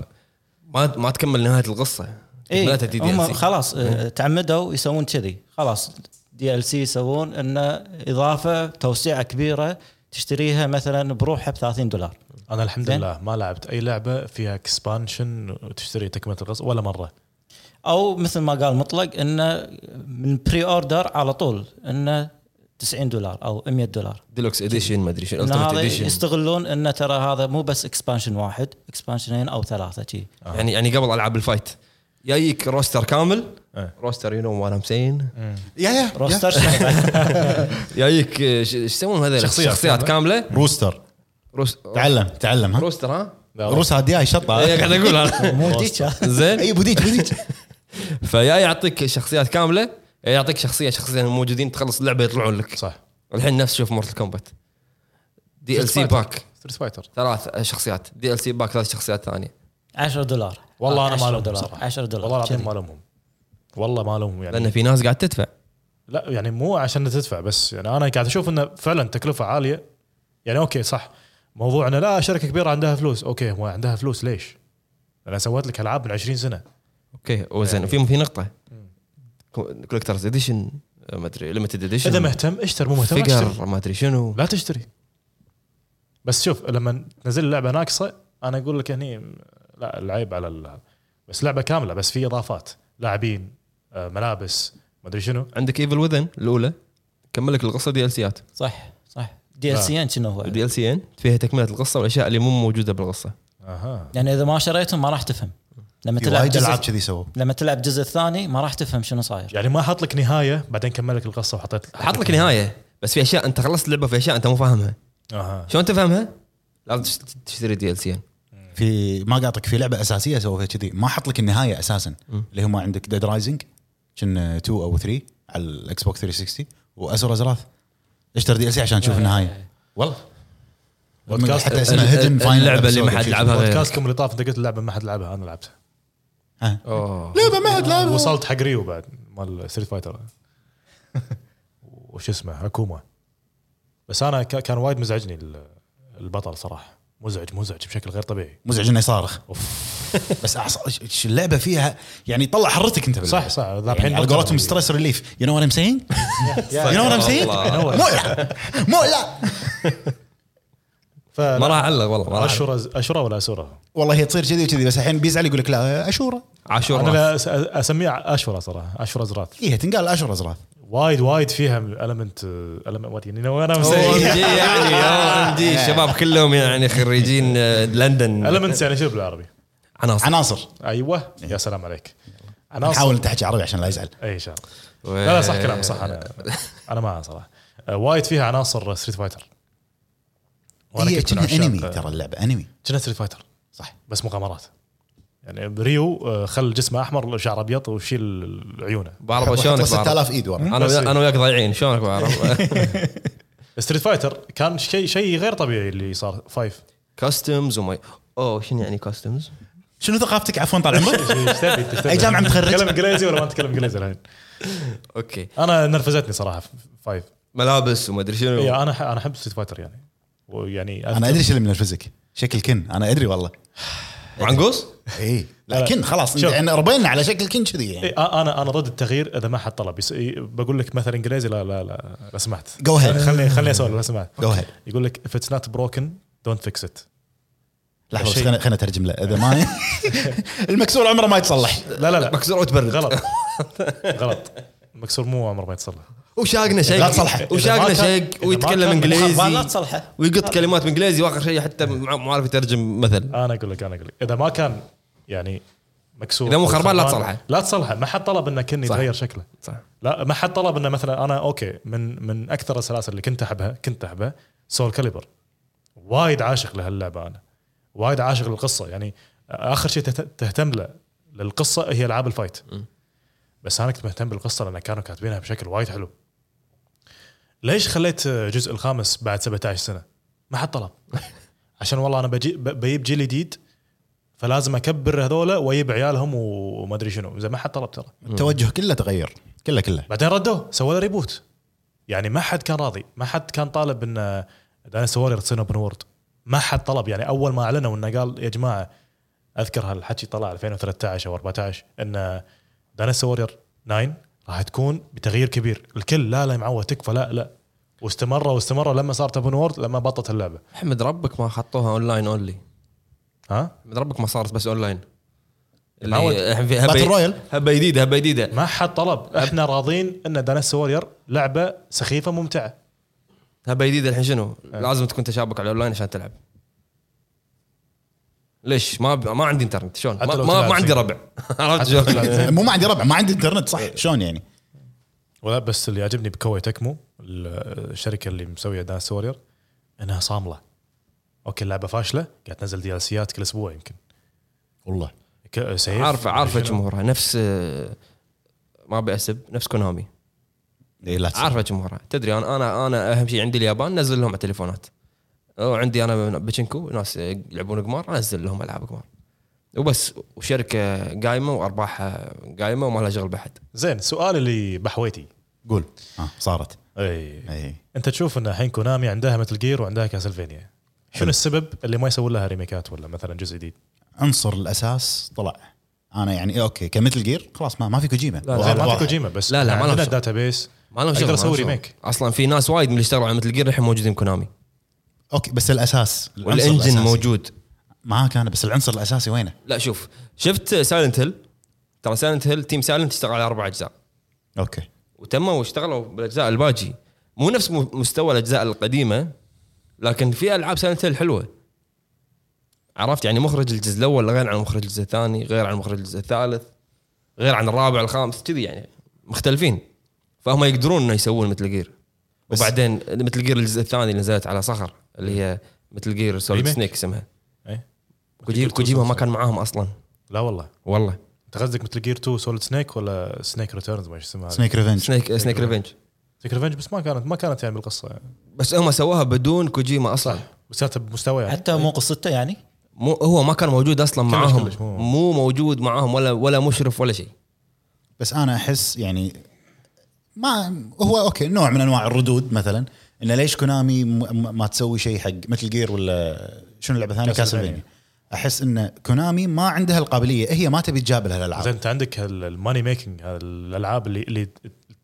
Speaker 2: ما ما تكمل نهايه القصه
Speaker 6: اي
Speaker 2: تكملتها دي
Speaker 6: إيه، هم
Speaker 2: ال سي
Speaker 6: خلاص آه، تعمدوا يسوون كذي خلاص دي ال سي يسوون انه اضافه توسيعه كبيره تشتريها مثلا بروحها ب 30 دولار
Speaker 4: انا الحمد
Speaker 6: زين.
Speaker 4: لله ما لعبت اي لعبه فيها اكسبانشن وتشتري تكمله القصه ولا مره
Speaker 6: او مثل ما قال مطلق انه من بري اوردر على طول انه 90 دولار او 100 دولار
Speaker 2: ديلوكس اديشن ما ادري شنو
Speaker 6: ان
Speaker 2: Ultimate
Speaker 6: هذا
Speaker 2: Edition.
Speaker 6: يستغلون انه ترى هذا مو بس اكسبانشن واحد اكسبانشنين او ثلاثه شي
Speaker 2: يعني يعني قبل العاب الفايت جايك روستر كامل
Speaker 4: إيه.
Speaker 2: روستر يو نو وات ام سين
Speaker 1: يا يا
Speaker 6: روستر
Speaker 1: يا.
Speaker 6: شنو؟
Speaker 2: جايك آه، ش- ايش يسمون هذول
Speaker 4: شخصيات
Speaker 2: شخصيات كامله
Speaker 1: روستر
Speaker 2: روس-
Speaker 1: تعلم تعلم ها
Speaker 2: روستر ها
Speaker 1: روس هاد جاي شطه
Speaker 2: إيه، قاعد اقول انا
Speaker 6: مو ديك
Speaker 2: زين
Speaker 1: اي بوديج بوديج
Speaker 2: فيا يعطيك شخصيات كامله يا يعطيك شخصيه شخصيتين موجودين تخلص اللعبه يطلعون لك
Speaker 4: صح
Speaker 2: الحين نفس شوف مورتل كومبات دي ال سي
Speaker 4: Street Fighter.
Speaker 2: باك
Speaker 4: ستريت فايتر
Speaker 2: ثلاث شخصيات دي ال سي باك ثلاث شخصيات ثانيه
Speaker 6: 10 دولار
Speaker 4: والله انا ما
Speaker 6: 10
Speaker 4: لهم
Speaker 6: دولار
Speaker 4: صراحة.
Speaker 6: 10 دولار
Speaker 4: والله العظيم
Speaker 6: كذي.
Speaker 4: ما لهم والله ما لهم يعني
Speaker 2: لان في ناس قاعد تدفع
Speaker 4: لا يعني مو عشان تدفع بس يعني انا قاعد اشوف انه فعلا تكلفه عاليه يعني اوكي صح موضوع انه لا شركه كبيره عندها فلوس اوكي هو عندها فلوس ليش؟ انا سويت لك العاب من 20 سنه
Speaker 2: اوكي وزين في في نقطه كولكترز اديشن ما ادري ليمتد اديشن
Speaker 4: اذا مهتم اشتر مو مهتم لا تشتري
Speaker 2: فيجر ما ادري شنو
Speaker 4: لا تشتري بس شوف لما تنزل لعبه ناقصه انا اقول لك هني لا العيب على ال- بس لعبه كامله بس في اضافات لاعبين آه، ملابس ما ادري شنو
Speaker 2: عندك ايفل وذن الاولى كمل لك القصه دي ال سيات
Speaker 6: صح صح دي ال سي شنو هو
Speaker 2: الدي ال سيين فيها تكمله القصه والاشياء اللي مو موجوده بالقصه
Speaker 4: اها
Speaker 6: يعني اذا ما شريتهم ما راح تفهم لما
Speaker 1: في
Speaker 6: تلعب
Speaker 1: وايد العاب
Speaker 6: جزء
Speaker 1: كذي سووا
Speaker 6: لما تلعب الجزء الثاني ما راح تفهم شنو صاير
Speaker 4: يعني ما حط لك نهايه بعدين كمل لك القصه وحطيت
Speaker 2: حط لك نهايه بس في اشياء انت خلصت اللعبه في اشياء انت مو فاهمها
Speaker 4: اها
Speaker 2: شلون تفهمها؟ لازم تشت- تشتري دي ال سيين
Speaker 1: في ما قاطك في لعبه اساسيه سووا فيها كذي ما حط لك النهايه اساسا اللي هم عندك ديد رايزنج كان 2 او 3 على الاكس بوك 360 واسر ازراث اشتر دي ال سي عشان تشوف النحايه والله
Speaker 4: بودكاست-
Speaker 1: حتى اسمها هيدن
Speaker 2: اللعبه اللي ما حد لعبها
Speaker 1: طيب.
Speaker 2: غير
Speaker 4: بودكاستكم اللي طاف انت قلت اللعبه ما حد لعبها انا لعبتها
Speaker 1: آه.
Speaker 2: إيه،
Speaker 1: لعبه ما حد لعبها
Speaker 4: وصلت حق ريو بعد مال ستريت فايتر وش اسمه حكومه بس انا ك- كان وايد مزعجني ال- البطل صراحه مزعج مزعج بشكل غير طبيعي
Speaker 1: مزعج انه يصارخ بس أعص- ش- ش- اللعبه فيها يعني طلع حرتك انت باللعبة.
Speaker 4: صح صح
Speaker 1: يعني على قولتهم ستريس ريليف يو نو وات ام سينج يو نو وات ام سينج
Speaker 2: الله.
Speaker 1: مولع مولع
Speaker 2: ما
Speaker 4: ما
Speaker 2: راح اعلق والله ما راح أعلق.
Speaker 4: اشوره اشوره ولا اسوره؟
Speaker 1: والله هي تصير كذي وكذي بس الحين بيزعل يقول لك لا اشوره
Speaker 2: عاشور
Speaker 4: انا
Speaker 2: راس.
Speaker 4: لا أس- اسميه اشوره صراحه اشوره زراث
Speaker 1: هي إيه، تنقال اشهر ازراث
Speaker 4: وايد وايد فيها المنت المنت يعني انا
Speaker 2: OMG يعني OMG الشباب كلهم يعني خريجين آه، لندن
Speaker 4: المنت يعني شنو بالعربي؟
Speaker 2: عناصر
Speaker 1: عناصر
Speaker 4: ايوه يا سلام عليك انا
Speaker 1: نحاول انت تحكي عربي عشان لا يزعل
Speaker 4: اي شاء الله لا لا
Speaker 1: إيه.
Speaker 4: صح كلام صح انا انا معها صراحه آه، وايد فيها عناصر ستريت فايتر
Speaker 1: هي
Speaker 4: كنت من
Speaker 1: كنا انمي
Speaker 4: عشاق-
Speaker 1: إيه، ترى اللعبه انمي
Speaker 4: كنا ستريت فايتر
Speaker 1: صح
Speaker 4: بس مغامرات يعني ريو آه، خل جسمه احمر شعره ابيض وشيل عيونه
Speaker 2: بعرف شلونك
Speaker 1: بس
Speaker 2: بعرف.
Speaker 1: 6000 ايد ورا
Speaker 2: انا ويا- انا وياك ضايعين شلونك بعرف
Speaker 4: ستريت فايتر كان شيء شيء غير طبيعي اللي صار فايف
Speaker 2: كاستمز وما اوه شنو يعني كاستمز؟
Speaker 1: شنو ثقافتك عفوا طال عمرك؟
Speaker 4: ايش تبي أنت؟ إيش تبي؟
Speaker 1: أي جامعة متخرج؟
Speaker 4: تتكلم انجليزي ولا ما تتكلم انجليزي الحين؟
Speaker 2: اوكي
Speaker 4: انا نرفزتني يعني صراحه فايف
Speaker 2: ملابس وما ادري
Speaker 4: إي،
Speaker 2: شنو
Speaker 4: انا أح- انا احب ستريت فايتر يعني ويعني
Speaker 1: انا ادري شو اللي منرفزك شكل كن انا ادري والله
Speaker 2: وعنقوص؟
Speaker 1: اي
Speaker 4: لا.
Speaker 1: لا كن خلاص
Speaker 4: شوف. إيه.
Speaker 1: يعني ربينا على شكل كن كذي يعني
Speaker 4: إي، آ- انا انا ضد التغيير اذا ما حد طلب يس- إي، بقول لك مثلا انجليزي لا لا لا, لا سمحت
Speaker 1: Go ahead.
Speaker 4: خليني خليني اسولف لا سمحت
Speaker 1: Go ahead.
Speaker 4: يقول لك if it's not broken don't fix it
Speaker 1: لحظه بس
Speaker 4: شيء.
Speaker 1: خليني خليني اترجم له اذا ما المكسور عمره ما يتصلح
Speaker 4: لا لا لا
Speaker 2: مكسور وتبرد
Speaker 4: غلط غلط مكسور مو عمره ما يتصلح
Speaker 2: وشاقنا شيق
Speaker 1: لا تصلحه.
Speaker 2: وشاقنا
Speaker 4: إذا ما كان- إذا
Speaker 2: شيق
Speaker 4: ما
Speaker 2: ويتكلم
Speaker 4: كان-
Speaker 6: لا
Speaker 2: انجليزي
Speaker 6: تصلحه
Speaker 2: ويقط كلمات انجليزي واخر شيء حتى مع- مو عارف يترجم مثل
Speaker 4: انا اقول لك انا اقول لك اذا ما كان يعني مكسور
Speaker 2: إذا مو
Speaker 4: أو
Speaker 2: خربان لا تصلحه.
Speaker 4: لا تصلحه ما حد طلب انه كني
Speaker 2: صح.
Speaker 4: يتغير شكله
Speaker 2: صح
Speaker 4: لا ما حد طلب انه مثلا انا اوكي من من اكثر السلاسل اللي كنت احبها كنت احبها سول كاليبر وايد عاشق لهاللعبه انا وايد عاشق للقصه يعني اخر شيء تهت- تهتم له للقصه هي العاب الفايت بس انا كنت مهتم بالقصه لان كانوا كاتبينها بشكل وايد حلو ليش خليت الجزء الخامس بعد 17 سنه؟ ما حد طلب عشان والله انا بجي ب- بجيب جيل جديد فلازم اكبر هذولا واجيب عيالهم وما ادري شنو زي ما حد طلب ترى
Speaker 1: التوجه كله تغير كله كله
Speaker 4: بعدين ردوه سووا له ريبوت يعني ما حد كان راضي ما حد كان طالب ان داينستي وورير تصير اوبن وورد ما حد طلب يعني اول ما اعلنوا انه قال يا جماعه اذكر هالحكي طلع 2013 او 14 ان داينستي وورير 9 راح تكون بتغيير كبير الكل لا لا يا معود تكفى لا لا واستمر واستمر لما صارت اوبن وورد لما بطت اللعبه
Speaker 2: احمد ربك ما حطوها اونلاين اونلي
Speaker 4: ها
Speaker 2: احمد ربك ما صارت بس اونلاين اللي
Speaker 4: معود.
Speaker 2: الحين في هبه
Speaker 1: Battle Royale.
Speaker 2: هبه جديده هبه جديده
Speaker 4: ما حد طلب احنا راضين ان دانس وورير لعبه سخيفه ممتعه
Speaker 2: هبه جديده الحين شنو؟
Speaker 4: آه.
Speaker 2: لازم تكون تشابك على الاونلاين عشان تلعب ليش؟ ما ب... ما عندي انترنت شلون؟ ما,
Speaker 4: حتى لو
Speaker 2: ما,
Speaker 4: تلعب
Speaker 2: ما عندي
Speaker 4: فيه.
Speaker 2: ربع عرفت
Speaker 4: حتى
Speaker 2: شلون؟
Speaker 4: لو تلعب فيه.
Speaker 1: مو ما عندي ربع ما عندي انترنت
Speaker 4: إيه.
Speaker 1: صح شلون يعني
Speaker 4: ولا بس اللي يعجبني بكوي تكمو ال- الشركه اللي مسويه دانس وورير انها صامله اوكي اللعبه فاشله قاعد تنزل دي سيات كل اسبوع يمكن
Speaker 1: والله
Speaker 4: ك- سيف
Speaker 2: عارفه عارفه
Speaker 4: شنو؟
Speaker 2: جمهورها نفس آه، ما بأسب نفس كونامي
Speaker 1: إيه لا
Speaker 2: عارفه جمهورها تدري انا انا انا اهم شيء عندي اليابان نزل لهم على التليفونات وعندي انا باتشينكو ناس يلعبون قمار انزل لهم العاب قمار وبس وشركه قايمه وارباحها قايمه وما لها شغل باحد
Speaker 4: زين سؤال اللي بحويتي
Speaker 1: قول آه صارت إيه.
Speaker 4: اي
Speaker 1: اي
Speaker 4: انت تشوف ان الحين كونامي عندها مثل جير وعندها كاسلفينيا شنو السبب اللي ما يسوون لها ريميكات ولا مثلا جزء جديد؟
Speaker 1: عنصر الاساس طلع انا يعني اوكي كمثل جير خلاص ما ما في كوجيما
Speaker 2: لا،
Speaker 4: زين ما
Speaker 1: واضح.
Speaker 4: في كوجيما بس
Speaker 2: لا، لا، ما لهم
Speaker 4: عندنا
Speaker 2: شغل.
Speaker 4: الداتا بيس
Speaker 2: ما لهم شغل ما
Speaker 4: اقدر
Speaker 2: لهم
Speaker 4: اسوي
Speaker 2: شغل.
Speaker 4: ريميك
Speaker 2: اصلا في ناس وايد من اللي اشتغلوا على مثل جير الحين موجودين بكونامي
Speaker 1: اوكي بس الاساس العنصر
Speaker 2: والانجن
Speaker 1: الأساسي.
Speaker 2: موجود
Speaker 1: معاك انا بس العنصر الاساسي وينه؟
Speaker 2: لا شوف شفت سايلنت هيل ترى سايلنت هيل تيم سايلنت اشتغل على اربع اجزاء
Speaker 1: اوكي
Speaker 2: وتموا واشتغلوا بالاجزاء الباجي مو نفس م- مستوى الاجزاء القديمه لكن في العاب سايلنت هيل حلوه عرفت يعني مخرج الجزء الاول غير عن مخرج الجزء الثاني غير عن مخرج الجزء الثالث غير عن الرابع الخامس كذي يعني مختلفين فهم يقدرون انه يسوون مثل جير
Speaker 1: بس-
Speaker 2: وبعدين مثل جير الجزء الثاني اللي نزلت على صخر اللي هي مثل جير سوليد
Speaker 4: Remake.
Speaker 2: سنيك اسمها
Speaker 4: إيه.
Speaker 2: كوجي- كوجيما ما كان معاهم اصلا
Speaker 4: لا والله
Speaker 2: والله
Speaker 4: انت قصدك مثل جير 2 سوليد سنيك ولا سنيك ريتيرنز ما إيش اسمها
Speaker 2: طيب.
Speaker 4: سنيك
Speaker 1: سنيك ريفنج
Speaker 2: سنيك سنيك ريفنج
Speaker 4: ريفنج بس ما كانت ما كانت يعني بالقصه يعني.
Speaker 2: بس هم سووها بدون كوجيما اصلا
Speaker 4: بس كانت بمستوى يعني
Speaker 6: حتى مو قصته يعني
Speaker 2: مو هو ما كان موجود اصلا
Speaker 4: كلش-
Speaker 2: معاهم
Speaker 4: كلش مو-
Speaker 2: مو موجود معاهم ولا ولا مشرف ولا شيء
Speaker 1: بس انا احس يعني ما هو اوكي نوع من انواع الردود مثلا انه ليش كونامي م- م- ما تسوي شيء حق مثل جير ولا شنو اللعبه الثانيه
Speaker 4: كاسلفينيا.
Speaker 1: كاسلفينيا احس ان كونامي ما عندها القابليه هي ما تبي تجابل
Speaker 4: زين
Speaker 1: هالالعاب
Speaker 4: انت عندك الماني ميكنج الالعاب اللي اللي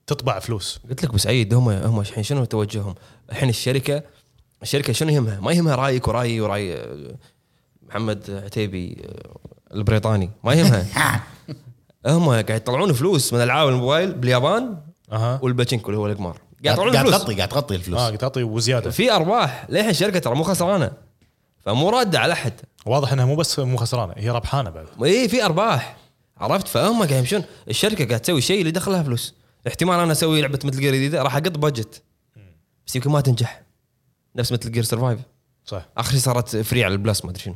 Speaker 4: تطبع فلوس
Speaker 2: قلت لك بسعيد هم هم الحين شنو توجههم؟ الحين الشركه الشركه شنو يهمها؟ ما يهمها رايك ورايي وراي آه، محمد عتيبي آه، البريطاني ما يهمها هم قاعد يطلعون فلوس من العاب الموبايل باليابان
Speaker 4: اها
Speaker 2: والباتشينكو اللي هو القمار قاعد آه،
Speaker 1: قاعد
Speaker 2: يطلعون
Speaker 1: قاعد
Speaker 2: فلوس
Speaker 1: تغطي قاعد تغطي الفلوس
Speaker 4: اه تعطي وزياده
Speaker 2: في ارباح للحين الشركه ترى مو خسرانه فمو راده على احد
Speaker 4: واضح انها مو بس مو خسرانه هي ربحانه بعد
Speaker 2: اي إيه، في ارباح عرفت فهم قاعد يمشون الشركه قاعد تسوي شيء اللي دخلها فلوس احتمال انا اسوي لعبه مثل جير جديده راح اقط بادجت بس يمكن ما تنجح نفس مثل جير سرفايف
Speaker 4: صح
Speaker 2: اخر شيء صارت فري على البلس ما ادري شنو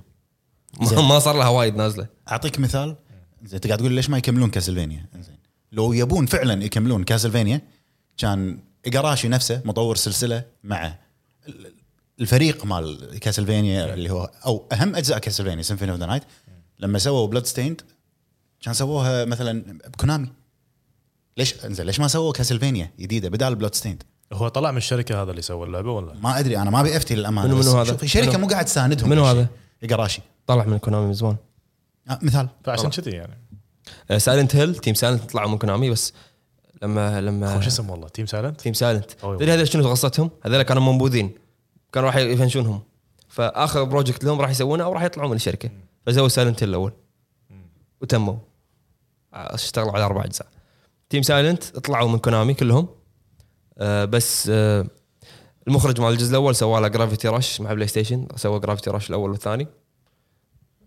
Speaker 1: زين.
Speaker 2: ما- ما صار لها وايد نازله
Speaker 1: اعطيك مثال زين انت قاعد تقول ليش ما يكملون كاسلفينيا زين لو يبون فعلا يكملون كاسلفينيا كان ايجاراشي نفسه مطور سلسله مع ال- الفريق مال كاسلفينيا اللي هو او اهم اجزاء كاسلفينيا سيمفوني اوف ذا نايت لما سووا بلاد ستيند كان سووها مثلا بكونامي ليش انزين ليش ما سووا كاسلفينيا جديده بدال بلاد ستيند
Speaker 4: هو طلع من الشركه هذا اللي سوى اللعبه ولا
Speaker 1: ما ادري انا ما ابي افتي للامانه
Speaker 2: منو-
Speaker 1: بس
Speaker 2: منو هذا؟
Speaker 1: شوف الشركه
Speaker 2: منو؟
Speaker 1: مو قاعد تساندهم
Speaker 2: منو هذا؟
Speaker 1: ايجاراشي
Speaker 2: طلع من كونامي من زمان آه،
Speaker 1: آه مثال
Speaker 4: فعشان كذي يعني
Speaker 2: سايلنت هيل تيم سايلنت طلعوا من كونامي بس لما
Speaker 4: هو
Speaker 2: لما
Speaker 4: شو اسمه والله تيم سايلنت
Speaker 2: تيم سايلنت
Speaker 4: أوي.
Speaker 2: تدري هذول شنو قصتهم؟ هذول كانوا منبوذين كانوا راح يفنشونهم فاخر بروجكت لهم راح يسوونه او راح يطلعون من الشركه فسووا سايلنت الاول وتموا آه، اشتغلوا على اربع اجزاء تيم سايلنت طلعوا من كونامي كلهم آه بس آه المخرج مال الجزء الاول سوى له جرافيتي رش مع بلاي ستيشن سوى جرافيتي رش الاول والثاني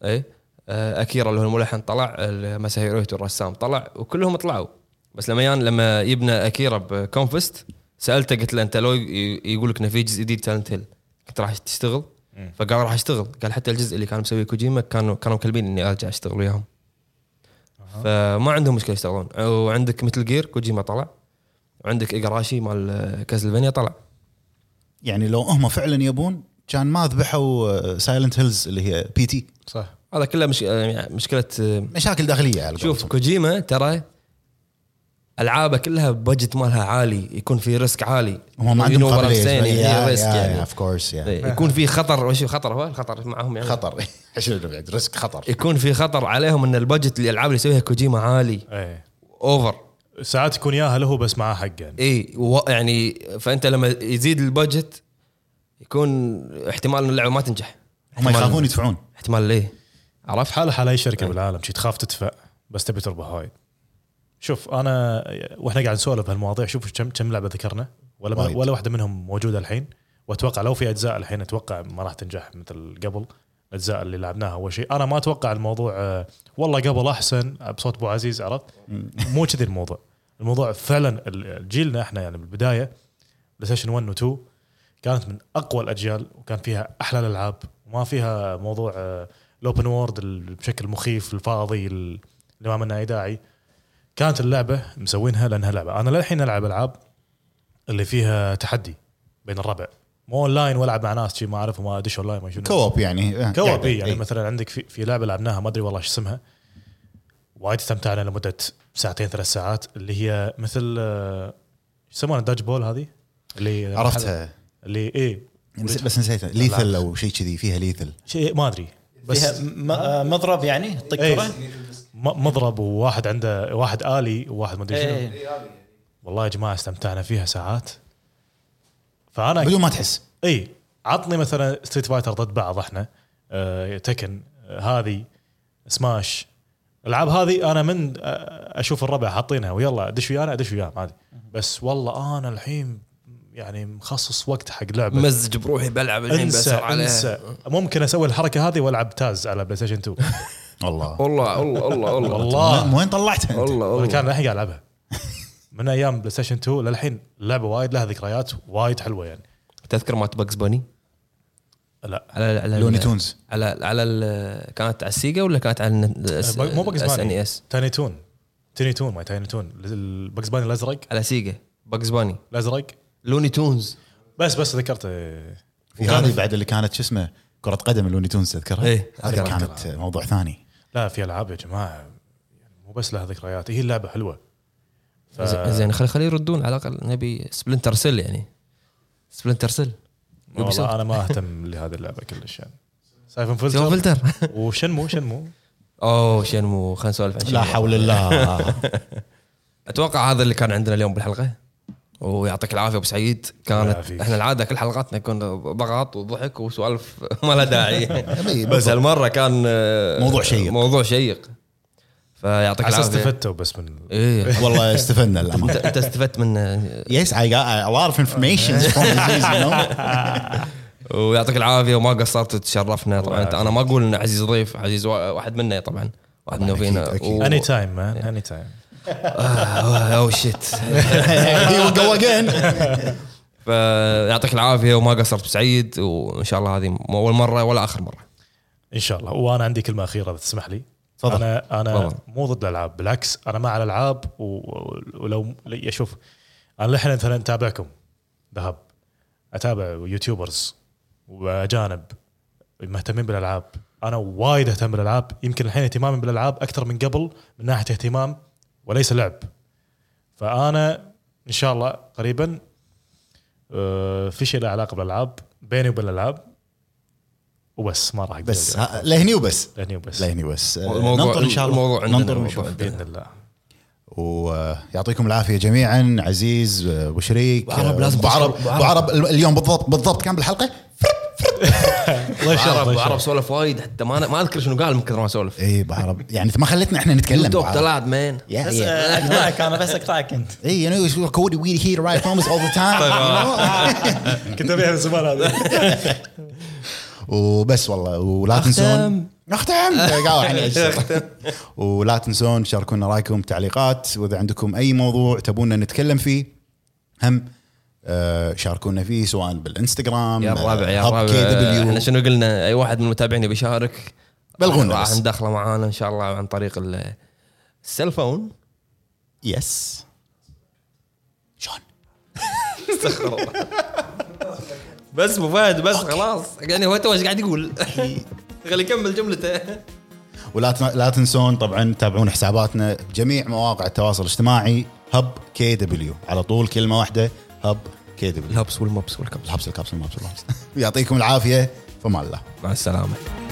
Speaker 2: اي آه اكيرا اللي هو الملحن طلع ال- مساهيرو هيتو الرسام طلع وكلهم طلعوا بس لما يان لما يبنى اكيرا بكونفست سالته قلت له انت لو ي- يقول لك انه في جزء جديد تالنت هيل كنت راح تشتغل فقال راح اشتغل قال حتى الجزء اللي كان مسويه كوجيما كانوا كانوا مكلمين اني ارجع اشتغل وياهم فما عندهم مشكله يشتغلون وعندك مثل جير كوجيما طلع وعندك ايجاراشي مال كازلفينيا طلع
Speaker 1: يعني لو هم فعلا يبون كان ما ذبحوا سايلنت هيلز اللي هي بي تي
Speaker 4: صح
Speaker 2: هذا كله مش... يعني مشكله آه،
Speaker 1: مشاكل داخليه على
Speaker 2: شوف
Speaker 1: قولتهم.
Speaker 2: كوجيما ترى العابه كلها بجت مالها عالي يكون في ريسك عالي
Speaker 1: هم ما
Speaker 2: You
Speaker 1: عندهم
Speaker 2: know what I'm
Speaker 1: قابليه
Speaker 2: saying، يعني ريسك يعني
Speaker 1: اوف كورس
Speaker 2: إيه، يكون في خطر وش خطر هو الخطر معهم يعني
Speaker 1: خطر عشان البعد، ريسك خطر
Speaker 2: يكون في خطر عليهم ان البجت الالعاب اللي يسويها كوجيما عالي
Speaker 4: ايه
Speaker 2: اوفر
Speaker 4: ساعات يكون ياها له بس معاه حق يعني
Speaker 2: اي و- يعني فانت لما يزيد البجت يكون احتمال ان اللعبه ما تنجح
Speaker 1: هم
Speaker 2: احتمال-
Speaker 1: يخافون يدفعون
Speaker 2: احتمال إيه. ليه عرفت
Speaker 4: حاله حال اي شركه بالعالم شي تخاف تدفع بس تبي تربح وايد شوف انا واحنا قاعد نسولف بهالمواضيع شوف كم كم لعبه ذكرنا ولا
Speaker 1: وايد.
Speaker 4: ولا واحده منهم موجوده الحين واتوقع لو في اجزاء الحين اتوقع ما راح تنجح مثل قبل الاجزاء اللي لعبناها اول شيء انا ما اتوقع الموضوع آه، والله قبل احسن بصوت ابو عزيز عرفت مو كذي الموضوع الموضوع فعلا ال- جيلنا احنا يعني بالبدايه بلاي ستيشن 1 و 2 كانت من اقوى الاجيال وكان فيها احلى الالعاب وما فيها موضوع آه، الاوبن وورد ال- بشكل مخيف الفاضي ال- اللي ما منه اي داعي كانت اللعبه مسوينها لانها لعبه انا للحين العب العاب اللي فيها تحدي بين الربع مو اونلاين والعب مع ناس شي ما اعرفهم ما ادش اونلاين ما شنو
Speaker 1: كواب يعني آه،
Speaker 4: كواب
Speaker 1: قاعدة.
Speaker 4: إي، يعني
Speaker 1: إي.
Speaker 4: مثلا عندك في, في لعبه لعبناها ما ادري والله شو اسمها وايد استمتعنا لمده ساعتين ثلاث ساعات اللي هي مثل آه، شو يسمونها داج بول هذه اللي
Speaker 1: عرفتها
Speaker 4: اللي ايه
Speaker 1: بس, بس نسيتها ليثل او شيء كذي فيها ليثل
Speaker 4: شيء إيه، ما ادري بس
Speaker 6: فيها م- آه، مضرب يعني تطق
Speaker 4: إيه.
Speaker 6: كرة
Speaker 4: م- مضرب وواحد عنده واحد الي وواحد ما ادري شنو
Speaker 6: إيه.
Speaker 4: والله يا جماعه استمتعنا فيها ساعات فانا
Speaker 1: بدون ما تحس
Speaker 4: اي عطني مثلا ستريت فايتر ضد بعض احنا آه تكن آه هذه سماش الالعاب هذه انا من آه اشوف الربع حاطينها ويلا ادش ويانا ادش وياهم عادي بس والله انا الحين يعني مخصص وقت حق لعبه
Speaker 2: مزج بروحي بلعب الحين
Speaker 4: انسى
Speaker 2: بسرعه عليها
Speaker 4: انسى ممكن اسوي الحركه هذه والعب تاز على بلاي ستيشن 2
Speaker 1: والله
Speaker 2: والله والله والله والله
Speaker 4: والله
Speaker 1: من وين طلعتها انت؟
Speaker 2: والله
Speaker 4: انا
Speaker 2: والله
Speaker 4: كان للحين قاعد العبها من ايام بلاي ستيشن 2 للحين اللعبه وايد لها ذكريات وايد حلوه يعني
Speaker 2: تذكر مات باكس باني
Speaker 4: لا
Speaker 2: على على
Speaker 1: لوني تونز
Speaker 2: على على ال- كانت على السيجا ولا كانت على
Speaker 4: آه، بق- أه، مو باكس
Speaker 2: اس ان
Speaker 4: باني
Speaker 2: اس
Speaker 4: تاني تون تيني تون ما تاني تون الباكس باني الازرق
Speaker 2: على سيجا باكس باني
Speaker 4: الازرق
Speaker 2: لوني تونز
Speaker 4: بس بس ذكرت إيه.
Speaker 1: في هذه بعد اللي كانت شو اسمه كرة قدم اللوني تونز تذكرها؟
Speaker 2: إيه،
Speaker 1: هذه كانت موضوع ثاني
Speaker 4: لا في العاب يا جماعه يعني مو بس لها ذكريات هي اللعبه حلوه
Speaker 2: زين- زين خلي خلي يردون على الاقل نبي سبلنتر سيل يعني سبلنتر سيل
Speaker 4: والله انا ما اهتم لهذه اللعبه كلش يعني سايفن
Speaker 2: سوى
Speaker 4: فلتر
Speaker 2: فلتر
Speaker 4: وشنمو شنمو
Speaker 2: اوه شنمو خلينا نسولف عن
Speaker 1: لا
Speaker 2: شنمو.
Speaker 1: حول الله
Speaker 2: اتوقع هذا اللي كان عندنا اليوم بالحلقه ويعطيك العافيه ابو سعيد كانت
Speaker 4: يعافيك.
Speaker 2: احنا العاده كل حلقاتنا يكون ضغط وضحك وسوالف ما لها داعي
Speaker 1: بالضبط.
Speaker 2: بس هالمره كان آه،
Speaker 1: موضوع شيق.
Speaker 2: موضوع شيق فيعطيك
Speaker 4: على اساس
Speaker 2: العافيه
Speaker 4: استفدتوا بس من
Speaker 2: ايه
Speaker 1: والله استفدنا
Speaker 2: انت
Speaker 1: للامانه
Speaker 2: انت استفدت منه
Speaker 1: Yes, I got a lot of information from Aziz, you know.
Speaker 2: ويعطيك العافيه وما قصرت تشرفنا
Speaker 4: الله
Speaker 2: طبعا انت انا ما اقول ان عزيز ضيف عزيز وا- واحد منا طبعا واحد منه فينا
Speaker 1: أكيد،
Speaker 2: و-
Speaker 4: اني تايم مان اني تايم
Speaker 2: آه، اوه شيت
Speaker 1: Here we go again.
Speaker 2: فيعطيك العافيه وما قصرت بسعيد وان شاء الله هذه مو اول مره ولا اخر مره
Speaker 4: ان شاء الله وانا عندي كلمه اخيره اذا تسمح لي
Speaker 1: تفضل.
Speaker 4: انا انا
Speaker 2: تفضل.
Speaker 4: مو ضد الالعاب بالعكس انا مع الالعاب و- و- ولو لي- شوف انا لحين مثلا اتابعكم ذهب اتابع يوتيوبرز واجانب مهتمين بالالعاب انا وايد اهتم بالالعاب يمكن الحين اهتمامي بالالعاب اكثر من قبل من ناحيه اهتمام وليس لعب فانا ان شاء الله قريبا آه، في شيء له علاقه بالالعاب بيني وبين الالعاب وبس ما راح أقدر
Speaker 1: بس ها- لهني وبس
Speaker 4: لهني وبس
Speaker 1: لهني وبس آه،
Speaker 2: الموضوع-
Speaker 1: ننطر ان شاء الله
Speaker 2: الموضوع عندنا
Speaker 1: ننطر
Speaker 2: الموضوع.
Speaker 1: ونشوف
Speaker 4: باذن الله
Speaker 1: ويعطيكم العافيه جميعا عزيز ابو شريك
Speaker 2: أبو عرب لازم
Speaker 1: ابو عرب
Speaker 2: تشكر- أبو
Speaker 1: ابو عرب اليوم بالضبط بالضبط كان بالحلقه
Speaker 4: الله يشرف
Speaker 2: عرب
Speaker 4: الله
Speaker 2: عرب
Speaker 4: يشرف
Speaker 2: سولف وايد حتى ما ما اذكر شنو قال من كثر ما سولف
Speaker 1: اي ابو عرب يعني ما خلتنا احنا نتكلم أبو
Speaker 2: توك
Speaker 1: عرب.
Speaker 2: تلعب مان
Speaker 1: Yeah,
Speaker 6: بس
Speaker 1: yeah.
Speaker 6: آه، اقطعك انا بس اقطعك انت
Speaker 1: Hey, you know, it's Cody, we here right from us all the time.
Speaker 2: طيب.
Speaker 1: you know?
Speaker 4: كنت ابيها من زمان هذا
Speaker 1: وبس والله ولا
Speaker 2: أختم.
Speaker 1: تنسون نختم قاعد يعني أجل. ولا تنسون شاركونا رايكم تعليقات واذا عندكم اي موضوع تبونا نتكلم فيه هم آه، شاركونا فيه سواء آه، بالانستغرام
Speaker 2: يا الربع يا
Speaker 1: Hub
Speaker 2: الربع
Speaker 1: KW.
Speaker 2: احنا شنو قلنا اي واحد من المتابعين بيشارك
Speaker 1: بلغونا
Speaker 2: راح
Speaker 1: بس.
Speaker 2: ندخله معانا ان شاء الله عن طريق ال- السيلفون
Speaker 1: يس شلون
Speaker 2: استغفر الله بس ابو فهد بس خلاص يعني هو تو ايش قاعد يقول خليه يكمل جملته
Speaker 1: ولا تن- لا تنسون طبعا تتابعون حساباتنا بجميع مواقع التواصل الاجتماعي هب كي دبليو على طول كلمه واحده هب كي دبليو
Speaker 2: الهبس والمبس والكبس
Speaker 1: الحبس الكبس المبس والله. يعطيكم العافيه فما الله
Speaker 2: مع السلامه